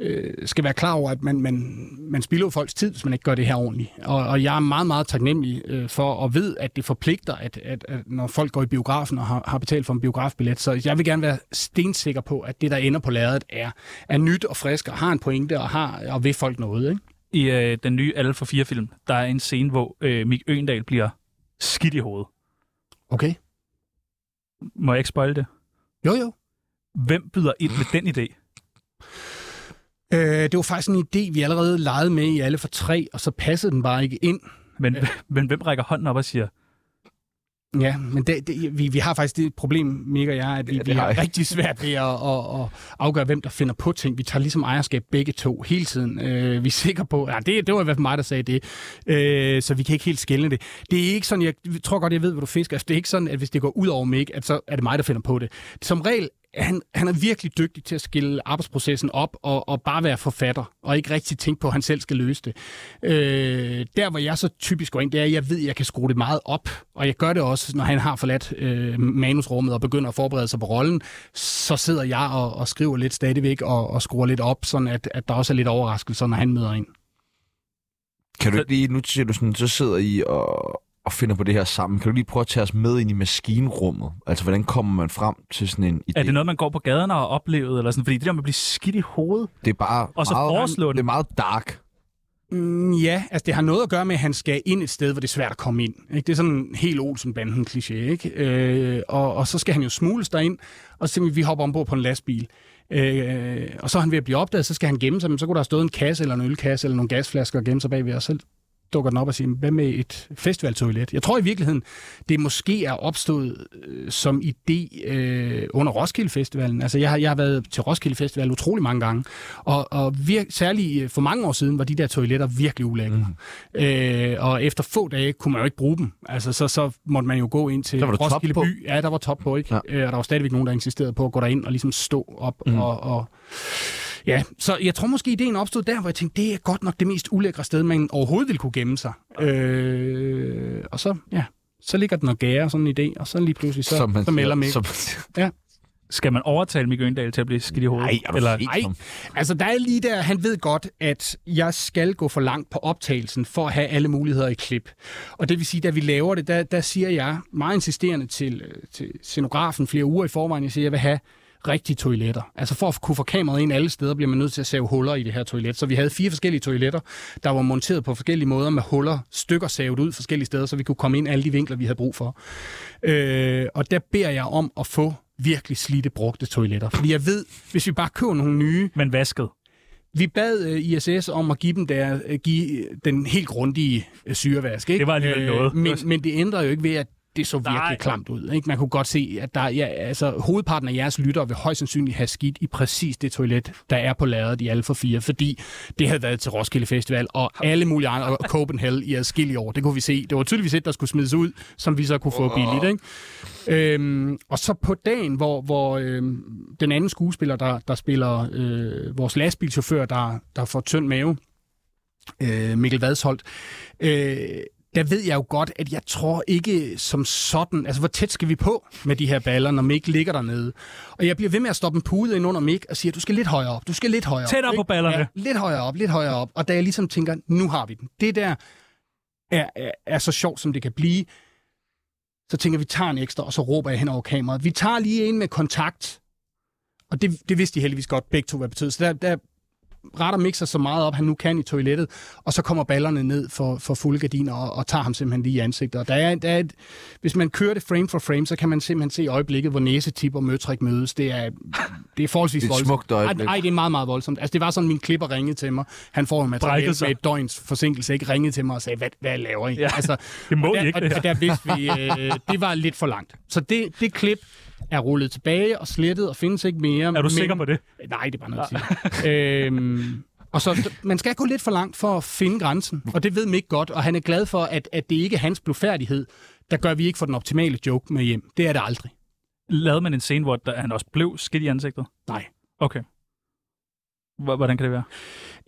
D: øh, skal være klar over, at man, man, man spilder jo folks tid, hvis man ikke gør det her ordentligt. Og, og jeg er meget, meget taknemmelig øh, for og ved, at det forpligter, at, at, at når folk går i biografen og har, har betalt for en biografbillet, så jeg vil gerne være stensikker på, at det, der ender på lærredet, er, er nyt og frisk og har en pointe og, har, og vil folk noget. Ikke?
B: I øh, den nye Alle for 4-film, der er en scene, hvor øh, Mik Øendal bliver skidt i hovedet.
D: Okay.
B: Må jeg ikke spoil det?
D: Jo, jo.
B: Hvem byder ind med den idé?
D: Øh, det var faktisk en idé, vi allerede legede med i alle for tre, og så passede den bare ikke ind.
B: Men, men hvem rækker hånden op og siger,
D: Ja, men det, det, vi, vi har faktisk det problem, Mik og jeg, at vi, ja, vi
A: har
D: har
A: jeg.
D: rigtig svært ved at, at, at afgøre, hvem der finder på ting. Vi tager ligesom ejerskab begge to hele tiden. Øh, vi er sikre på, ja, det, det var i hvert fald mig, der sagde det, øh, så vi kan ikke helt skælne det. Det er ikke sådan, jeg tror godt, jeg ved, hvor du fisker. Altså, det er ikke sådan, at hvis det går ud over Mik, at så er det mig, der finder på det. Som regel, han, han er virkelig dygtig til at skille arbejdsprocessen op og, og bare være forfatter, og ikke rigtig tænke på, at han selv skal løse det. Øh, der, hvor jeg så typisk går ind, det er, at jeg ved, at jeg kan skrue det meget op, og jeg gør det også, når han har forladt øh, manusrummet og begynder at forberede sig på rollen, så sidder jeg og, og skriver lidt stadigvæk og, og skruer lidt op, sådan at, at der også er lidt overraskelser, når han møder ind.
A: Kan du ikke lige, nu siger du sådan, så sidder I og, og finder på det her sammen. Kan du lige prøve at tage os med ind i maskinrummet? Altså, hvordan kommer man frem til sådan en idé?
B: er det noget, man går på gaden og har oplevet? Eller sådan? Fordi det der med at blive skidt i hovedet,
A: det er bare
B: Og så
A: meget,
B: foreslå den.
A: det er meget dark.
D: Mm, ja, altså det har noget at gøre med, at han skal ind et sted, hvor det er svært at komme ind. Ikke? Det er sådan en helt Olsen-banden kliché, ikke? Øh, og, og så skal han jo smules derind, og så simpelthen, vi hopper ombord på en lastbil. Øh, og så er han ved at blive opdaget, så skal han gemme sig, men så kunne der have stået en kasse eller en ølkasse eller nogle gasflasker og gemme sig bagved, og så dukker den op og siger, hvad med et festivaltoilet? Jeg tror i virkeligheden, det måske er opstået øh, som idé øh, under Roskilde Festivalen. Altså, jeg har, jeg har været til Roskilde Festival utrolig mange gange, og, og vir- særlig øh, for mange år siden var de der toiletter virkelig ulækre. Mm. Øh, og efter få dage kunne man jo ikke bruge dem. Altså, så, så måtte man jo gå ind til
A: Der var der top
D: Roskilde
A: på.
D: By. Ja, der var top på, ikke?
A: Ja.
D: Ja. Øh, og der var stadigvæk nogen, der insisterede på at gå derind og ligesom stå op mm. og... og Ja, så jeg tror måske, ideen opstod der, hvor jeg tænkte, det er godt nok det mest ulækre sted, man overhovedet ville kunne gemme sig. Øh, og så, ja, så ligger den og gærer sådan en idé, og så lige pludselig, så, så,
A: man
D: så melder
A: siger,
D: mig.
A: Som,
D: Ja.
B: Skal man overtale Mikke Øndal til at blive skidt i hovedet?
A: Nej, er du
B: Eller,
A: helt
D: Nej,
A: tom?
D: altså der er lige der, han ved godt, at jeg skal gå for langt på optagelsen for at have alle muligheder i klip. Og det vil sige, da vi laver det, der, der siger jeg meget insisterende til, øh, til scenografen flere uger i forvejen, jeg siger, at jeg vil have rigtige toiletter. Altså for at kunne få kameraet ind alle steder, bliver man nødt til at save huller i det her toilet. Så vi havde fire forskellige toiletter, der var monteret på forskellige måder med huller, stykker savet ud forskellige steder, så vi kunne komme ind alle de vinkler, vi havde brug for. Øh, og der beder jeg om at få virkelig slidte brugte toiletter. Fordi jeg ved, hvis vi bare køber nogle nye,
B: Men vasket.
D: vi bad øh, ISS om at give dem der, øh, give den helt grundige øh, syrevask. Ikke? Øh,
B: Det var alligevel noget.
D: Men, men det ændrer jo ikke ved, at det så virkelig
B: Nej.
D: Nej. klamt ud. Ikke? Man kunne godt se, at der, ja, altså, hovedparten af jeres lyttere vil højst sandsynligt have skidt i præcis det toilet, der er på lageret i Alfa 4, fordi det havde været til Roskilde Festival og alle mulige andre, og Copenhagen i adskillige år. Det kunne vi se. Det var tydeligvis et, der skulle smides ud, som vi så kunne få billigt. Ikke? Øhm, og så på dagen, hvor, hvor øhm, den anden skuespiller, der, der spiller øh, vores lastbilchauffør, der, der får tynd mave, øh, Mikkel Vadsholt, øh, der ved jeg jo godt, at jeg tror ikke som sådan, altså hvor tæt skal vi på med de her baller, når Mik ligger dernede. Og jeg bliver ved med at stoppe en pude ind under Mik og siger, du skal lidt højere op, du skal lidt højere op.
B: Tættere
D: ikke?
B: på ballerne.
D: Ja, lidt højere op, lidt højere op. Og da jeg ligesom tænker, nu har vi den. Det der er, er, er så sjovt, som det kan blive. Så tænker jeg, vi tager en ekstra, og så råber jeg hen over kameraet. Vi tager lige en med kontakt. Og det, det vidste de heldigvis godt, begge to, hvad det betød. Så der, der retter mixer så meget op, han nu kan i toilettet, og så kommer ballerne ned for, for fulde gardiner og, og tager ham simpelthen lige i ansigtet. Og der er, der er et, hvis man kører det frame for frame, så kan man simpelthen se i øjeblikket, hvor næsetip og møtrik mødes. Det er, det er forholdsvis
A: Det er et
D: voldsomt.
A: smukt øjeblik.
D: Nej, det er meget, meget voldsomt. Altså, det var sådan, min klipper ringede til mig. Han får jo materiale
B: Brækkede sig.
D: med et døgns forsinkelse, ikke? Ringede til mig og sagde, hvad, hvad laver I?
B: Ja.
D: Altså,
B: Det må
D: og
B: I
D: der,
B: ikke, det
D: Og,
B: her.
D: og der vidste vi, øh, det var lidt for langt. Så det, det klip er rullet tilbage og slettet og findes ikke mere.
B: Er du sikker på det?
D: Nej, det er bare noget at sige. øhm, og så, man skal gå lidt for langt for at finde grænsen, og det ved Mick godt, og han er glad for, at, at det ikke er hans blufærdighed, der gør, at vi ikke får den optimale joke med hjem. Det er det aldrig.
B: Lavede man en scene, hvor der, han også blev skidt i ansigtet?
D: Nej.
B: Okay. H- Hvordan kan det være?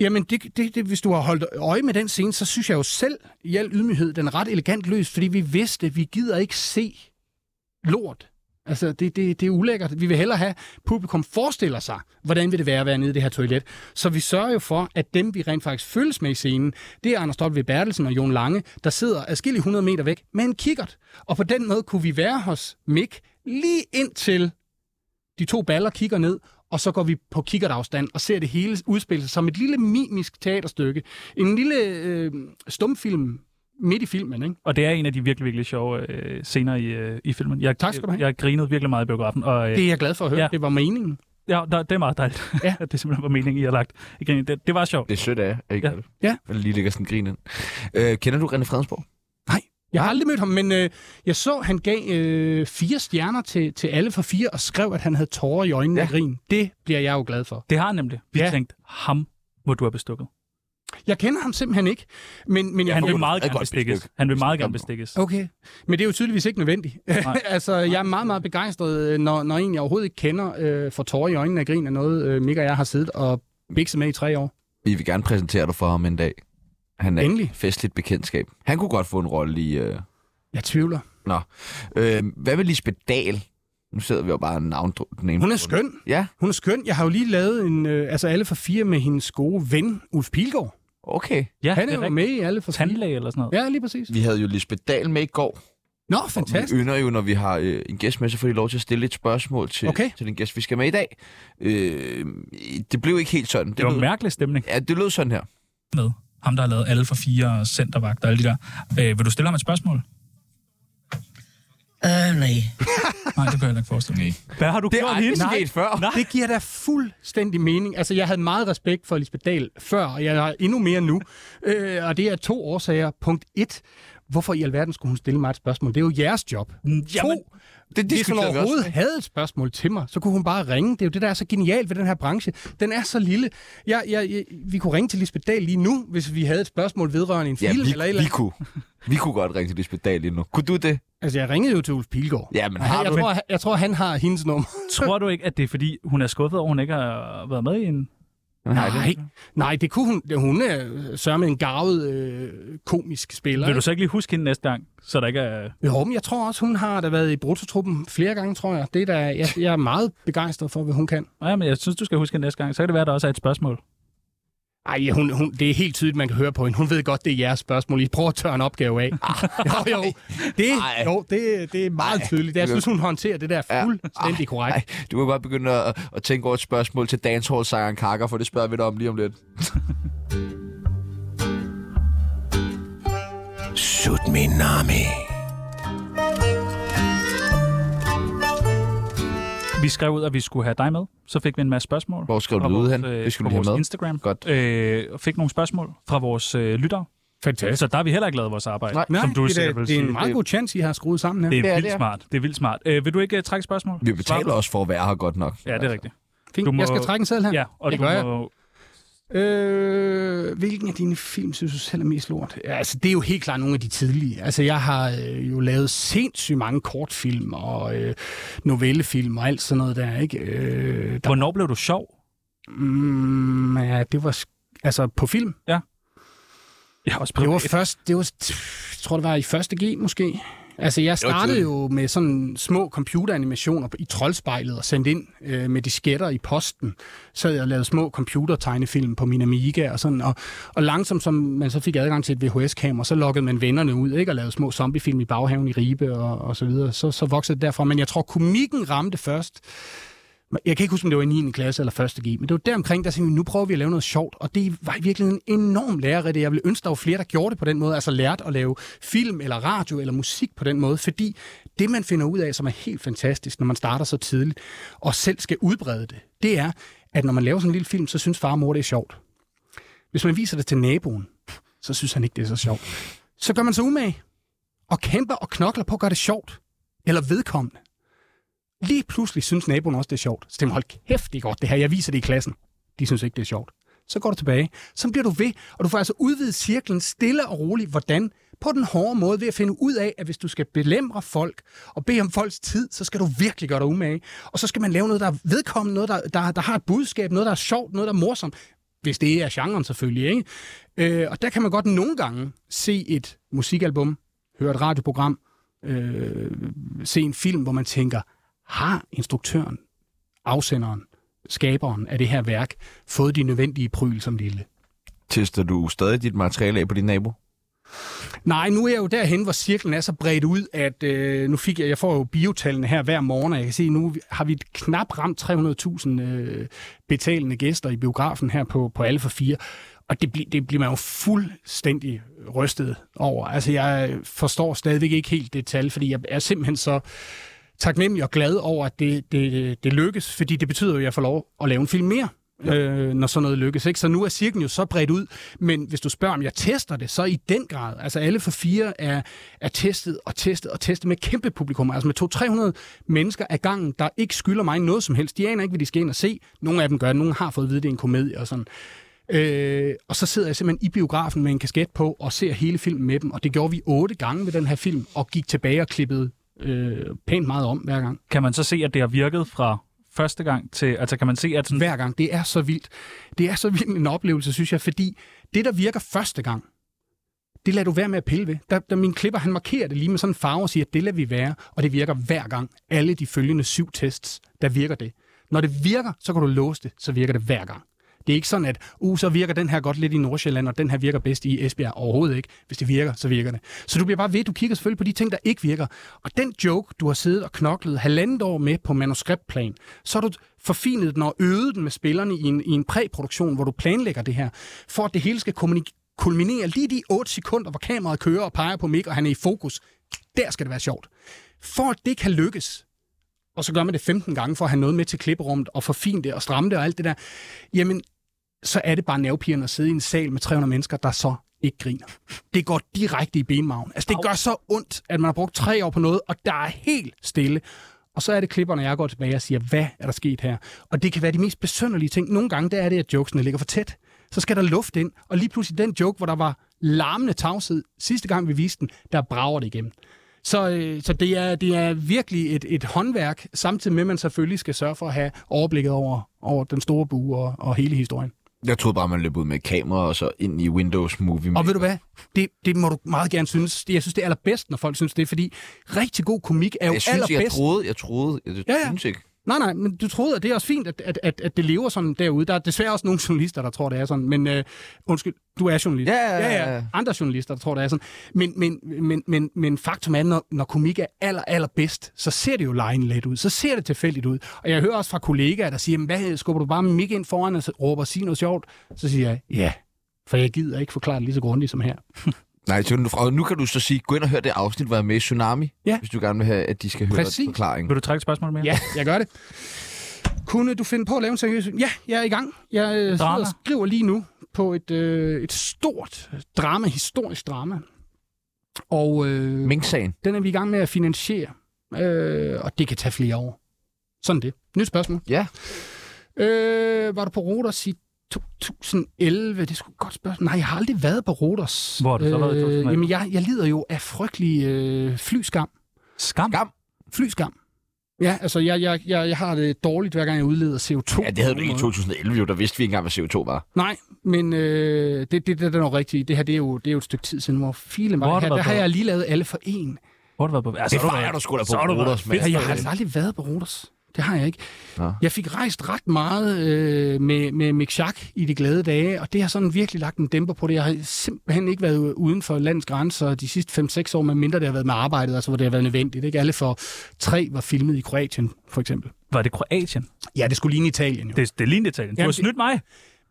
D: Jamen, det, det, det, hvis du har holdt øje med den scene, så synes jeg jo selv i al ydmyghed, den er ret elegant løst, fordi vi vidste, at vi gider ikke se lort. Altså, det, det, det er ulækkert. Vi vil hellere have, publikum forestiller sig, hvordan vil det være at være nede i det her toilet. Så vi sørger jo for, at dem, vi rent faktisk følges med i scenen, det er Anders Stolpe Bertelsen og Jon Lange, der sidder adskillige 100 meter væk med en kikkert. Og på den måde kunne vi være hos Mick lige indtil de to baller kigger ned, og så går vi på kikkertafstand og ser det hele udspille sig som et lille mimisk teaterstykke. En lille øh, stumfilm midt i filmen, ikke?
B: Og det er en af de virkelig, virkelig sjove øh, scener i, øh, i filmen. Jeg,
D: Tak skal du have.
B: Jeg, jeg grinede virkelig meget i biografen, og øh,
D: Det er jeg glad for at høre.
B: Ja.
D: Ja. Det var meningen.
B: ja, der, det er meget dejligt, ja.
D: Ja.
B: at det simpelthen var meningen, I har lagt. i grinen. Det, det var sjovt.
A: Det er sødt af, ikke?
B: Ja.
A: det?
D: Ja.
A: Jeg lige lægger sådan en grin ind. Øh, kender du René Fredensborg?
D: Jeg har aldrig mødt ham, men øh, jeg så, han gav øh, fire stjerner til, til alle for fire, og skrev, at han havde tårer i øjnene
A: Ja.
D: ja. af grin. Det bliver jeg jo glad for.
B: Det har han nemlig. Vi ja.
D: Ja.
B: tænkte, ham må du have bestukket.
D: Jeg kender ham simpelthen ikke, men, men jeg
B: Han
D: får-
B: vil meget
A: er
B: gerne
A: godt
B: bestikkes.
A: bestuk.
B: Han vil meget
A: Bestuk.
B: gerne bestikkes.
D: Okay, men det er jo tydeligvis ikke nødvendigt. altså, jeg er meget, meget begejstret, øh, når, når en, jeg overhovedet ikke kender, øh, får tårer i øjnene af grin af noget, øh, Mik og jeg har siddet og bikset med i tre år.
A: Vi vil gerne præsentere dig for ham en dag. Han er
D: Endelig.
A: et festligt bekendtskab. Han kunne godt få en rolle i... Øh...
D: Jeg tvivler.
A: Øh, hvad med Lisbeth Dahl? Nu sidder vi jo bare og navndru- den ene.
D: Hun er skøn.
A: Ja,
D: Hun er skøn. Jeg har jo lige lavet en, øh, altså alle for fire med hendes gode ven, Ulf Pilgaard.
A: okay.
B: Ja,
D: Han
B: det
D: er
B: er
D: jo
B: rigtigt.
D: med i alle for fire.
B: Tandlæge eller sådan noget.
D: Ja, lige præcis.
A: Vi havde jo Lisbeth Dahl med i går.
D: Nå,
A: Fantastisk.
D: fantastisk.
A: Vi ynder jo, når vi har øh, en gæst med, så får de lov til at stille et spørgsmål til,
D: Okay.
A: til den gæst, vi skal med i dag. Øh, det blev ikke helt sådan.
B: Det var
A: lød,
B: en mærkelig stemning.
A: ja, det lød sådan her.
B: Med ham, der har lavet alle for fire centervagt og alle de der. Øh, vil du stille ham et spørgsmål?
H: Øh, nej.
B: Nej, det kan jeg heller ikke forestille mig. Hvad har du
A: Det er
B: gjort
A: aldrig
B: hende?
A: sket før.
B: Nej.
D: Det giver da fuldstændig mening. Altså, jeg havde meget respekt for Lisbeth Dahl før, og jeg har endnu mere nu. Øh, og det er to årsager. Punkt et. Hvorfor i alverden skulle hun stille mig et spørgsmål? Det er jo jeres job.
B: Jamen,
D: to.
A: Det
D: Hvis hun
A: diskuterede vi også.
D: overhovedet havde et spørgsmål til mig, så kunne hun bare ringe. Det er jo det, der er så genialt ved den her branche. Den er så lille. Jeg, jeg, jeg, vi kunne ringe til Lisbeth Dahl lige nu, hvis vi havde et spørgsmål vedrørende en
A: Ja,
D: film
A: vi,
D: eller et eller
A: vi,
D: andet.
A: kunne, vi kunne godt ringe til Lisbeth Dahl lige nu. Kunne du det?
D: Altså, jeg ringede jo til Ulf Pilgaard.
A: Ja, men
D: Og han-
A: har
D: jeg,
A: du
D: tror, jeg, jeg tror, han har hendes nummer.
B: Tror du ikke, at det er fordi, hun er skuffet over, at hun ikke har været med i en
A: Nej,
D: Nej, nej det kunne hun. Hun er sørme en garvet øh, komisk spiller.
B: Vil du så ikke lige huske hende næste gang, så der ikke er...
D: Jo, men jeg tror også, hun har da været i brutotruppen flere gange, tror jeg. Det er da, jeg, jeg er meget begejstret for, hvad hun kan.
B: Nej, men jeg synes, du skal huske hende næste gang. Så kan det være, at der også er et spørgsmål.
D: Ej, hun, hun, det er helt tydeligt, man kan høre på hende. Hun ved godt, det er jeres spørgsmål. I prøver at tørre en opgave af. jo, jo. Ah. Det, jo, det, det er meget tydeligt. Jeg synes, hun håndterer det der fuldstændig korrekt.
A: Ah, Nej, du må bare begynde at, at tænke over et spørgsmål til dancehall-sangeren Kaka, for det spørger vi dig om lige om lidt.
H: Sut min nami.
B: Vi skrev ud, at vi skulle have dig med. Så fik vi en masse spørgsmål.
A: Hvor skrev
B: fra
A: du det ud
B: vores,
A: hen?
B: øh,
A: Det skulle
B: fra
A: vi have
B: vores
A: med.
B: Instagram.
A: Godt.
B: Øh, og fik nogle spørgsmål fra vores øh, lyttere.
D: Fantastisk.
B: Så der er vi heller ikke lavet vores arbejde,
A: Nej.
B: som du
D: det, er,
B: sikkert
D: da-
B: vil
D: det er
B: sige.
D: en meget god chance, I har skruet sammen her.
B: Det er
A: det er
B: vildt
A: det.
B: smart. Det er vildt smart. Øh, vil du ikke uh, trække spørgsmål?
A: Vi betaler også for at være her godt nok.
B: Ja, det er rigtigt.
D: Fint.
B: du må-
D: Jeg skal trække en selv her.
B: Ja, og
D: Det
B: du
D: gør jeg.
B: må...
D: Øh, hvilken af dine film synes du selv er mest lort? Ja, altså, det er jo helt klart nogle af de tidlige. Altså, jeg har øh, jo lavet sindssygt mange kortfilm og øh, novellefilm og alt sådan noget der, ikke? Øh, der,
B: Hvornår blev du sjov?
D: mm, ja, det var... sk- Altså, på film?
B: Ja, også
D: Det var
B: privat.
D: først... Det var, jeg tror, det var i første G, måske. Altså, jeg startede jo med sådan små computeranimationer i troldspejlet og sendte ind øh, med disketter i posten. Så jeg og lavede små computertegnefilm på min Amiga og sådan. Og, og langsomt, som man så fik adgang til et VHS-kamera, så lokkede man vennerne ud ikke? og lavede små zombiefilm i baghaven i Ribe og, og så videre. Så, så voksede det derfra. Men jeg tror, komikken ramte først. Jeg kan ikke huske, om det var i 9. klasse eller 1. G, men det var deromkring, der tænkte vi, nu prøver vi at lave noget sjovt, og det var i virkeligheden enormt lærerigt. Jeg ville ønske, der var flere, der gjorde det på den måde, altså lærte at lave film eller radio eller musik på den måde, fordi det, man finder ud af, som er helt fantastisk, når man starter så tidligt, og selv skal udbrede det, det er, at når man laver sådan en lille film, så synes far og mor, det er sjovt. Hvis man viser det til naboen, så synes han ikke, det er så sjovt. Så gør man sig umage, og kæmper og knokler på at gøre det sjovt, eller vedkommende. Lige pludselig synes naboen også, det er sjovt. Så tænker man, hold kæft, det er godt det her. Jeg viser det i klassen. De synes ikke, det er sjovt. Så går du tilbage. Så bliver du ved, og du får altså udvidet cirklen stille og roligt. Hvordan? På den hårde måde ved at finde ud af, at hvis du skal belemre folk og bede om folks tid, så skal du virkelig gøre dig umage. Og så skal man lave noget, der er vedkommende, noget, der, der, der har et budskab, noget, der er sjovt, noget, der er morsomt. Hvis det er genren selvfølgelig, ikke? Øh, og der kan man godt nogle gange se et musikalbum, høre et radioprogram, øh, se en film, hvor man tænker, har instruktøren, afsenderen, skaberen af det her værk fået de nødvendige pryl som lille?
A: Tester du stadig dit materiale af på din nabo?
D: Nej, nu er jeg jo derhen, hvor cirklen er så bredt ud, at øh, nu fik jeg, jeg får jo biotallene her hver morgen, og jeg kan se, nu har vi knap ramt 300.000 øh, betalende gæster i biografen her på, på Alfa 4, og det, bli, det bliver man jo fuldstændig rystet over. Altså, jeg forstår stadigvæk ikke helt det tal, fordi jeg er simpelthen så taknemmelig og glad over, at det, det, det lykkes, fordi det betyder jo, at jeg får lov at lave en film mere. Ja. Øh, når sådan noget lykkes. Ikke? Så nu er cirklen jo så bredt ud, men hvis du spørger, om jeg tester det, så i den grad. Altså alle for fire er, er testet og testet og testet med kæmpe publikum, altså med 200-300 mennesker ad gangen, der ikke skylder mig noget som helst. De aner ikke, hvad de skal ind og se. Nogle af dem gør det, nogle har fået at vide, at det er en komedie og sådan. Øh, og så sidder jeg simpelthen i biografen med en kasket på og ser hele filmen med dem, og det gjorde vi otte gange med den her film, og gik tilbage og klippede øh, pænt meget om hver gang.
B: Kan man så se, at det har virket fra første gang til... Altså, kan man se, at sådan...
D: Hver gang. Det er så vildt. Det er så vild en oplevelse, synes jeg, fordi det, der virker første gang, det lader du være med at pille ved. Da, da min klipper, han markerer det lige med sådan en farve og siger, at det lader vi være, og det virker hver gang. Alle de følgende syv tests, der virker det. Når det virker, så kan du låse det, så virker det hver gang. Det er ikke sådan, at uh, så virker den her godt lidt i Nordsjælland, og den her virker bedst i Esbjerg. Overhovedet ikke. Hvis det virker, så virker det. Så du bliver bare ved, du kigger selvfølgelig på de ting, der ikke virker. Og den joke, du har siddet og knoklet halvandet år med på manuskriptplan, så har du forfinet den og øvet den med spillerne i en, i en præproduktion, hvor du planlægger det her, for at det hele skal kommunikere kulminerer lige de 8 sekunder, hvor kameraet kører og peger på Mik, og han er i fokus. Der skal det være sjovt. For at det kan lykkes, og så gør man det 15 gange for at have noget med til klipperummet og forfine det og stramme det og alt det der, jamen, så er det bare nervepirrende at sidde i en sal med 300 mennesker, der så ikke griner. Det går direkte i benmagen. Altså, det gør så ondt, at man har brugt tre år på noget, og der er helt stille. Og så er det klipperne, jeg går tilbage og siger, hvad er der sket her? Og det kan være de mest besønderlige ting. Nogle gange der er det, at jokesene ligger for tæt. Så skal der luft ind, og lige pludselig den joke, hvor der var larmende tavshed sidste gang, vi viste den, der brager det igennem. Så, øh, så det, er, det er virkelig et, et håndværk, samtidig med, at man selvfølgelig skal sørge for at have overblikket over, over den store bue og, og hele historien.
A: Jeg troede bare, man løb ud med et kamera og så ind i Windows Movie
D: Og ved du hvad? Det, det må du meget gerne synes. Jeg synes, det er allerbedst, når folk synes det, fordi rigtig god komik er jo
A: Jeg synes,
D: allerbedst.
A: jeg troede, jeg troede, jeg
D: Ja, ja.
A: synes ikke.
D: Nej, nej, men du troede, at det er også fint, at, at, at, at det lever sådan derude. Der er desværre også nogle journalister, der tror, det er sådan. Men øh, undskyld, du er journalist.
A: Ja, ja, ja, ja.
D: Andre journalister, der tror, det er sådan. Men, men, men, men, men faktum er, når, når komik er aller, allerbedst, så ser det jo lejen let ud. Så ser det tilfældigt ud. Og jeg hører også fra kollegaer, der siger, "Jamen, hvad skubber du bare mig ind foran og så råber, sig noget sjovt? Så siger jeg, ja, for jeg gider ikke forklare det lige så grundigt som her.
A: Nej, så nu, og nu kan du så sige, gå ind og hør det afsnit, hvor jeg er med i Tsunami,
D: Ja.
A: hvis du gerne vil have, at de skal høre
D: Præcis.
A: Præcis. forklaring.
B: Vil du trække et spørgsmål mere?
D: Ja, jeg gør det. Kunne du finde på at lave en seriøs... Ja, jeg er i gang. Jeg øh, sidder
B: Drama.
D: og skriver lige nu på et, øh, et stort drama, historisk drama. Og øh,
A: Mink-sagen.
D: den er vi i gang med at finansiere. Øh, og det kan tage flere år. Sådan det. Nyt spørgsmål.
A: Ja.
D: Øh, var du på Roters i 2011? Det er sgu et godt spørgsmål. Nej, jeg har aldrig været på Roters.
B: Hvor har du så været i 2011?
D: Jamen, jeg, jeg lider jo af frygtelig øh, flyskam.
B: Skam.
A: Skam.
D: Flyskam. Ja, altså, jeg, jeg, jeg, jeg har det dårligt, hver gang jeg udleder CO2.
A: Ja, det havde du ikke i 2011, jo. Der vidste vi ikke engang, hvad CO2 var.
D: Nej, men øh, det, det, det, det er nok rigtigt. Det her, det er jo, det er jo et stykke tid siden, hvor filen
B: Hvor har
D: var
B: du
D: her.
B: været
D: Der har
B: på?
D: jeg lige lavet alle for en.
B: Hvor har du været på? Ja, så
A: Det
B: har du
A: fejrer
B: været-
A: du sgu da på
B: så har du været
A: Roters,
B: fedt.
A: mand.
D: Jeg har altså aldrig været på Roters. Det har jeg ikke.
A: Nå.
D: Jeg fik rejst ret meget øh, med, med Mick Schack i de glade dage, og det har sådan virkelig lagt en dæmper på det. Jeg har simpelthen ikke været uden for landets grænser de sidste 5-6 år, men mindre det har været med arbejdet, altså hvor det har været nødvendigt. Ikke? Alle for tre var filmet i Kroatien, for eksempel.
B: Var det Kroatien?
D: Ja, det skulle ligne Italien jo.
B: Det, det er lignende Italien. Du
D: Jamen,
B: har
D: det-
B: snydt mig.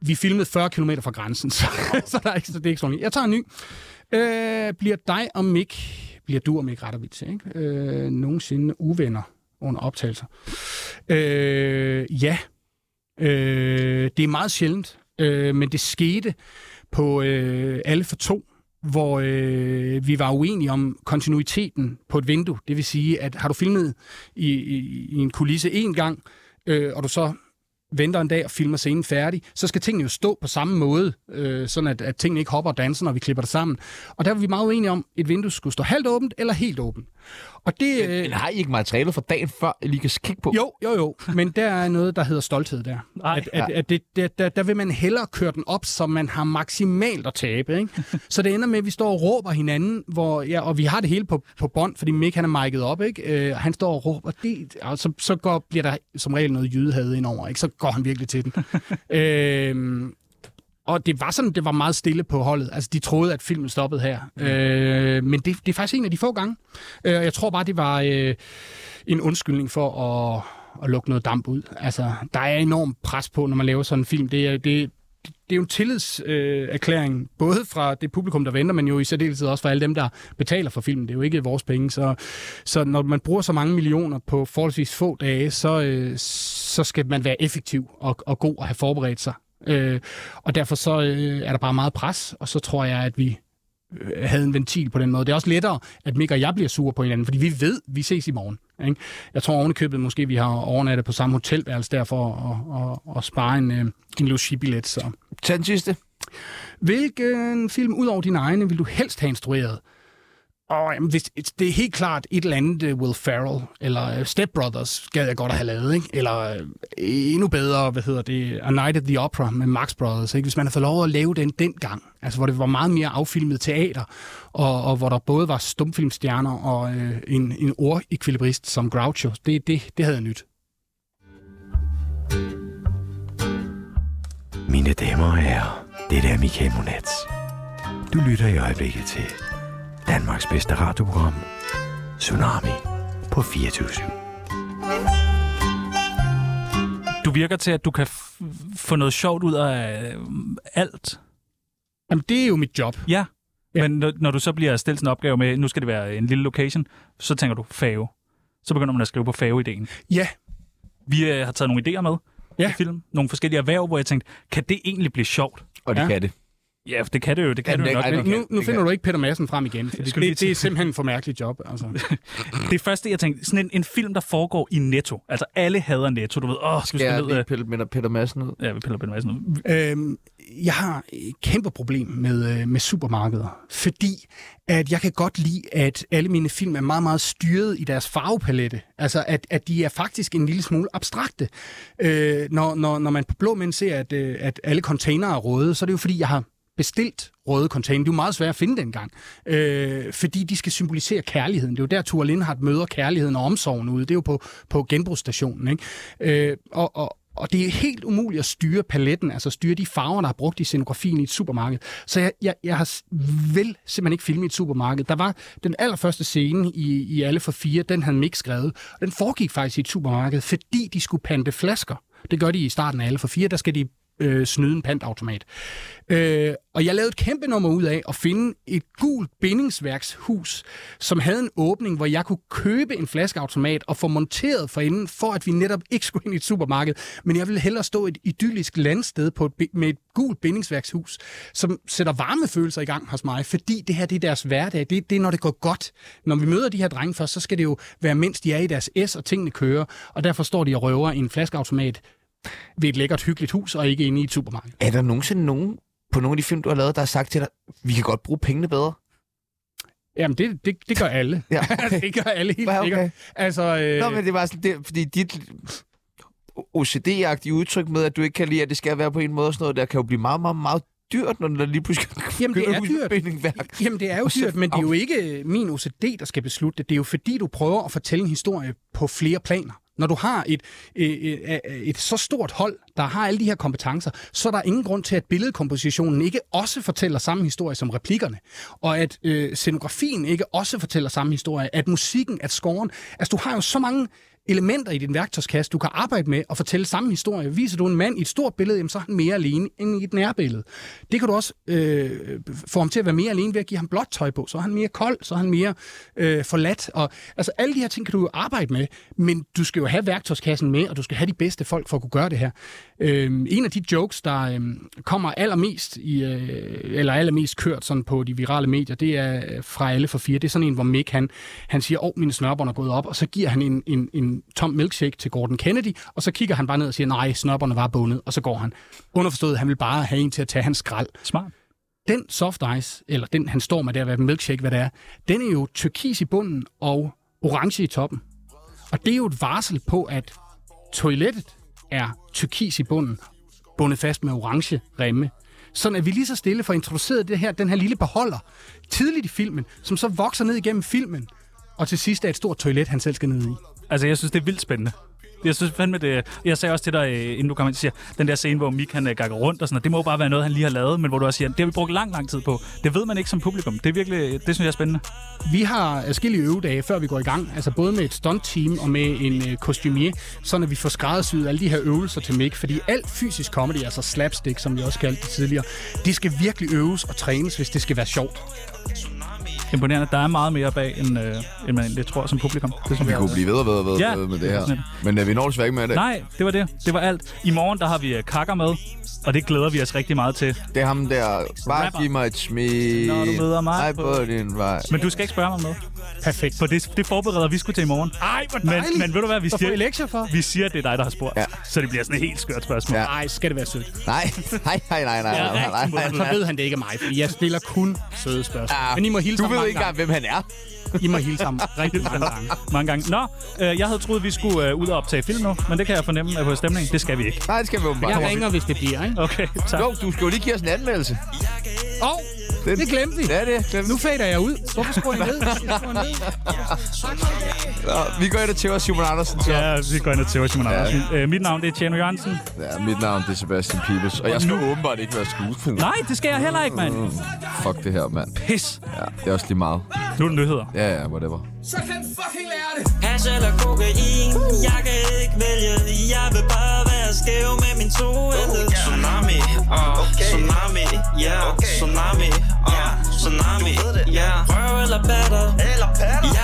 D: vi filmede 40 km fra grænsen, så, så, der er ikke, så det er ikke sådan. Jeg tager en ny. Øh, bliver dig og Mick, bliver du og Mick Rattervits, ikke? Øh, nogensinde uvenner under optagelser? Øh, ja. Øh, det er meget sjældent, øh, men det skete på øh, alle for to, hvor øh, vi var uenige om kontinuiteten på et vindue. Det vil sige, at har du filmet i, i, i en kulisse en gang, øh, og du så venter en dag og filmer scenen færdig, så skal tingene jo stå på samme måde, øh, sådan at, at tingene ikke hopper og danser, når vi klipper det sammen. Og der var vi meget uenige om, et vindue skulle stå halvt åbent eller helt åbent. Og det, øh,
A: Men har I ikke materialet fra dagen før, I lige kan kigge på?
D: jo, jo, jo. Men der er noget, der hedder stolthed der.
B: Nej.
D: At, at, at det, der, der, der vil man hellere køre den op, så man har maksimalt at tabe. Ikke? Så det ender med, at vi står og råber hinanden, hvor, ja, og vi har det hele på, på bånd, fordi Mick han er mic'et op, ikke? Øh, og han står og råber, det, og så, så går, bliver der som regel noget jydehad indover, ikke? så går han virkelig til den. øhm, og det var sådan, det var meget stille på holdet. Altså, de troede, at filmen stoppede her. Øh, men det, det er faktisk en af de få gange. Øh, og jeg tror bare, det var øh, en undskyldning for at, at lukke noget damp ud. Altså, der er enormt pres på, når man laver sådan en film. Det er, det, det er jo en tillidserklæring, øh, erklæring, både fra det publikum, der venter, men jo i særdeleshed også fra alle dem, der betaler for filmen. Det er jo ikke vores penge. Så, så når man bruger så mange millioner på forholdsvis få dage, så, øh, så skal man være effektiv og, og god og have forberedt sig. Øh, og derfor så øh, er der bare meget pres, og så tror jeg, at vi øh, havde en ventil på den måde. Det er også lettere, at Mik og jeg bliver sure på hinanden, fordi vi ved, vi ses i morgen. Ikke? Jeg tror ovenikøbet måske, vi har overnattet på samme hotelværelse der for at, at, at spare en, øh, en logibillet. Så.
A: Tag den sidste.
D: Hvilken film ud over dine egne vil du helst have instrueret? Og jamen, hvis, det er helt klart et eller andet uh, Will Ferrell, eller uh, Step Brothers gad jeg godt at have lavet, ikke? eller uh, endnu bedre, hvad hedder det, A Night at the Opera med Marx Brothers. Ikke? Hvis man havde fået lov at lave den dengang, altså hvor det var meget mere affilmet teater, og, og hvor der både var stumfilmstjerner og uh, en, en ordekvilibrist som Groucho, det, det, det havde jeg nyt.
H: Mine damer og herrer, det er Michael Monats. Du lytter i øjeblikket til Danmarks bedste radioprogram, Tsunami på 24
B: Du virker til, at du kan f- få noget sjovt ud af øh, alt.
D: Jamen det er jo mit job.
B: Ja.
D: Ja.
B: Men når, når du så bliver stillet sådan en opgave med, nu skal det være en lille location, så tænker du fave. Så begynder man at skrive på fave-ideen.
D: Ja,
B: Vi øh, har taget nogle idéer med
D: Ja.
B: i film. Nogle forskellige erhverv, hvor jeg tænkte, kan det egentlig blive sjovt?
A: Og det
D: Ja.
A: kan det.
B: Ja, for det kan det jo. Det kan
A: Jamen,
B: det jo
A: det-
B: nok.
A: ej, det
B: ikke?
A: kan-
D: nu, nu
A: kan-
D: finder du ikke Peter Madsen frem igen. fordi
B: skulle lige
D: Det,
B: til-
D: det er simpelthen for mærkeligt job. Altså.
B: Det første, jeg tænkte, sådan en, en film, der foregår i Netto. Altså, alle hader Netto. Du ved, åh, skal vi
A: Skal jeg
B: skal ned?
A: lige
B: øh,
A: pille Peter, Peter Madsen ud?
B: Ja, vi piller Peter Madsen ud.
D: Øhm, jeg har et kæmpe problem med, øh, med supermarkeder, fordi at jeg kan godt lide, at alle mine film er meget, meget styret i deres farvepalette. Altså, at, at de er faktisk en lille smule abstrakte. Øh, når, når, når man på blå mænd ser, at, øh, at alle containere er røde, så er det jo fordi, jeg har bestilt røde container. Det er jo meget svært at finde dengang, øh, fordi de skal symbolisere kærligheden. Det er jo der, Thor Lindhardt møder kærligheden og omsorgen ude. Det er jo på, på genbrugsstationen. Ikke? Øh, og, og, og det er helt umuligt at styre paletten, altså styre de farver, der er brugt i scenografien i et supermarked. Så jeg, jeg, jeg har s- vel simpelthen ikke filmet i et supermarked. Der var den allerførste scene i, i Alle for Fire, den havde Mick skrevet, og den foregik faktisk i et supermarked, fordi de skulle pante flasker. Det gør de i starten af Alle for Fire, der skal de øh, snyde en pantautomat. Øh, og jeg lavede et kæmpe nummer ud af at finde et gult bindingsværkshus, som havde en åbning, hvor jeg kunne købe en flaskeautomat og få monteret for inden, for at vi netop ikke skulle ind i et supermarked. Men jeg ville hellere stå et idyllisk landsted på et, bi- med et gult bindingsværkshus, som sætter varmefølelser i gang hos mig, fordi det her det er deres hverdag. Det, det er, når det går godt. Når vi møder de her drenge først, så skal det jo være, mens de er i deres S, og tingene kører. Og derfor står de og røver en flaskeautomat ved et lækkert, hyggeligt hus, og ikke inde i et supermarked.
A: Er der nogensinde nogen på nogle af de film, du har lavet, der har sagt til dig, vi kan godt bruge pengene bedre?
D: Jamen, det, det, det gør alle.
A: Ja.
D: det gør alle helt
A: Ja, okay.
D: sikkert. Altså, øh,
A: Nå, men det var sådan, det, fordi dit OCD-agtige udtryk med, at du ikke kan lide, at det skal være på en måde og sådan noget, der kan jo blive meget, meget, meget dyrt, når der lige pludselig
D: Jamen, det
A: begynder
D: er
A: at
D: dyrt.
A: bindingværk.
D: Jamen, det er jo
A: Og så-
D: dyrt, men det er jo ikke min OCD, der skal beslutte det. Det er jo fordi, du prøver at fortælle en historie på flere planer. Når du har et, øh, øh, øh, et så stort hold, der har alle de her kompetencer, så er der ingen grund til, at billedkompositionen ikke også fortæller samme historie som replikkerne. Og at øh, scenografien ikke også fortæller samme historie. At musikken, at scoren. Altså, du har jo så mange elementer i din værktøjskasse, du kan arbejde med og fortælle samme historie. Viser du en mand i et stort billede, jamen, så er han mere alene end i et nærbillede. Det kan du også øh, få ham til at være mere alene ved at give ham blåt tøj på. Så er han mere kold, så er han mere øh, forladt. Og, altså, alle de her ting kan du jo arbejde med, men du skal jo have værktøjskassen med, og du skal have de bedste folk for at kunne gøre det her. Øh, en af de jokes, der øh, kommer allermest, i, øh, eller allermest kørt sådan på de virale medier, det er øh, fra alle for fire. Det er sådan en, hvor Mick han, han siger, åh, mine snørbånd er gået op, og så giver han en, en, en tom milkshake til Gordon Kennedy, og så kigger han bare ned og siger, nej, snørbåndene var bundet, og så går han. Underforstået, han vil bare have en til at tage hans skrald
B: Smart.
D: den soft ice, eller den han står med der, hvad milkshake, hvad det er, den er jo turkis i bunden og orange i toppen. Og det er jo et varsel på, at toilettet er turkis i bunden, bundet fast med orange remme. Sådan at vi lige så stille får introduceret det her, den her lille beholder tidligt i filmen, som så vokser ned igennem filmen, og til sidst er et stort toilet, han selv skal ned i.
B: Altså, jeg synes, det er vildt spændende. Jeg synes fandme det... Jeg sagde også til dig, øh, inden du kom ind, siger, den der scene, hvor Mik han øh, gakker rundt og sådan noget, det må jo bare være noget, han lige har lavet, men hvor du også siger, det har vi brugt lang, lang tid på. Det ved man ikke som publikum. Det er virkelig... Det synes jeg er spændende.
D: Vi har adskillige øvedage, før vi går i gang. Altså både med et stunt-team og med en øh, kostumier, sådan at vi får skræddersyet alle de her øvelser til Mick. Fordi alt fysisk comedy, altså slapstick, som vi også kaldte det tidligere, det skal virkelig øves og trænes, hvis det skal være sjovt.
B: Imponerende. Der er meget mere bag, end, øh, end man egentlig tror som publikum. Det synes
A: Vi
B: jeg
A: kunne blive ved og ved og ved,
B: Ja,
A: ja, ved med det
B: det er
A: her.
B: sådan
A: Men øh, vi når desværre ikke med det.
B: Nej, det var det. Det var alt. I morgen, der har vi øh, kakker med, og det glæder vi os rigtig meget til.
A: Det er ham der. Bare
B: Rapper.
A: giv mig et smil.
B: Når du møder mig
A: Ej,
B: på-
A: på din vej.
B: Men du skal ikke spørge mig om noget,
D: Perfekt.
B: for det, det forbereder vi sgu til i morgen.
D: Ej, hvor
B: Men, men ved du hvad, vi
D: Hvad får I
B: siger,
D: lektier for?
B: vi siger, at det er dig, der har spurgt.
A: Ja.
B: Så det bliver sådan et helt skørt spørgsmål.
A: Ja.
D: Ej, skal det være sødt.
A: Nej, nej, nej, nej, nej,
B: Jeg er
A: nej, nej,
B: rigtig
A: nej,
B: modvillig.
D: Så
A: nej.
D: ved han det ikke af mig, fordi jeg stiller kun søde spørgsmål.
A: Ah,
D: Men I må hilse
A: Du
D: ham
A: ved ikke
D: mange
A: engang,
D: gange.
A: hvem han er.
D: I må hilse ham rigtig mange gange.
B: Mange gange. Nå, øh, jeg havde troet, vi skulle øh, ud og optage film nu, men det kan jeg fornemme er på stemningen. Det skal vi ikke.
A: Nej, det skal vi åbenbart.
D: Jeg ringer, hvis det bliver, ikke?
B: Okay, tak.
A: Jo, du skal jo lige give os en anmeldelse.
D: Og
A: Den-
D: det glemte vi.
A: Ja, det glemte
D: Nu fader jeg ud. Hvorfor skruer jeg ned?
A: Nå, Vi går ind og tæver Simon Andersen så.
B: Ja, vi går ind og tæver Simon Andersen. Øh, mit navn det er Tjeno Jørgensen.
A: Ja, mit navn det er Sebastian Pibes, og jeg skal åbenbart ikke være skuespiller.
B: Nej, det skal jeg heller ikke, mand.
A: Fuck det her, mand.
B: Pis.
A: Ja, det er også lige meget.
B: Nu er det nyheder.
A: Ja, ja, whatever.
I: Hash eller kokain Jeg kan ikke vælge Jeg vil bare være skæv med min toende uh, yeah. Tsunami, uh, okay. tsunami, ja yeah. okay. Tsunami, uh, yeah. tsunami, ja yeah. Røv eller batter, eller patter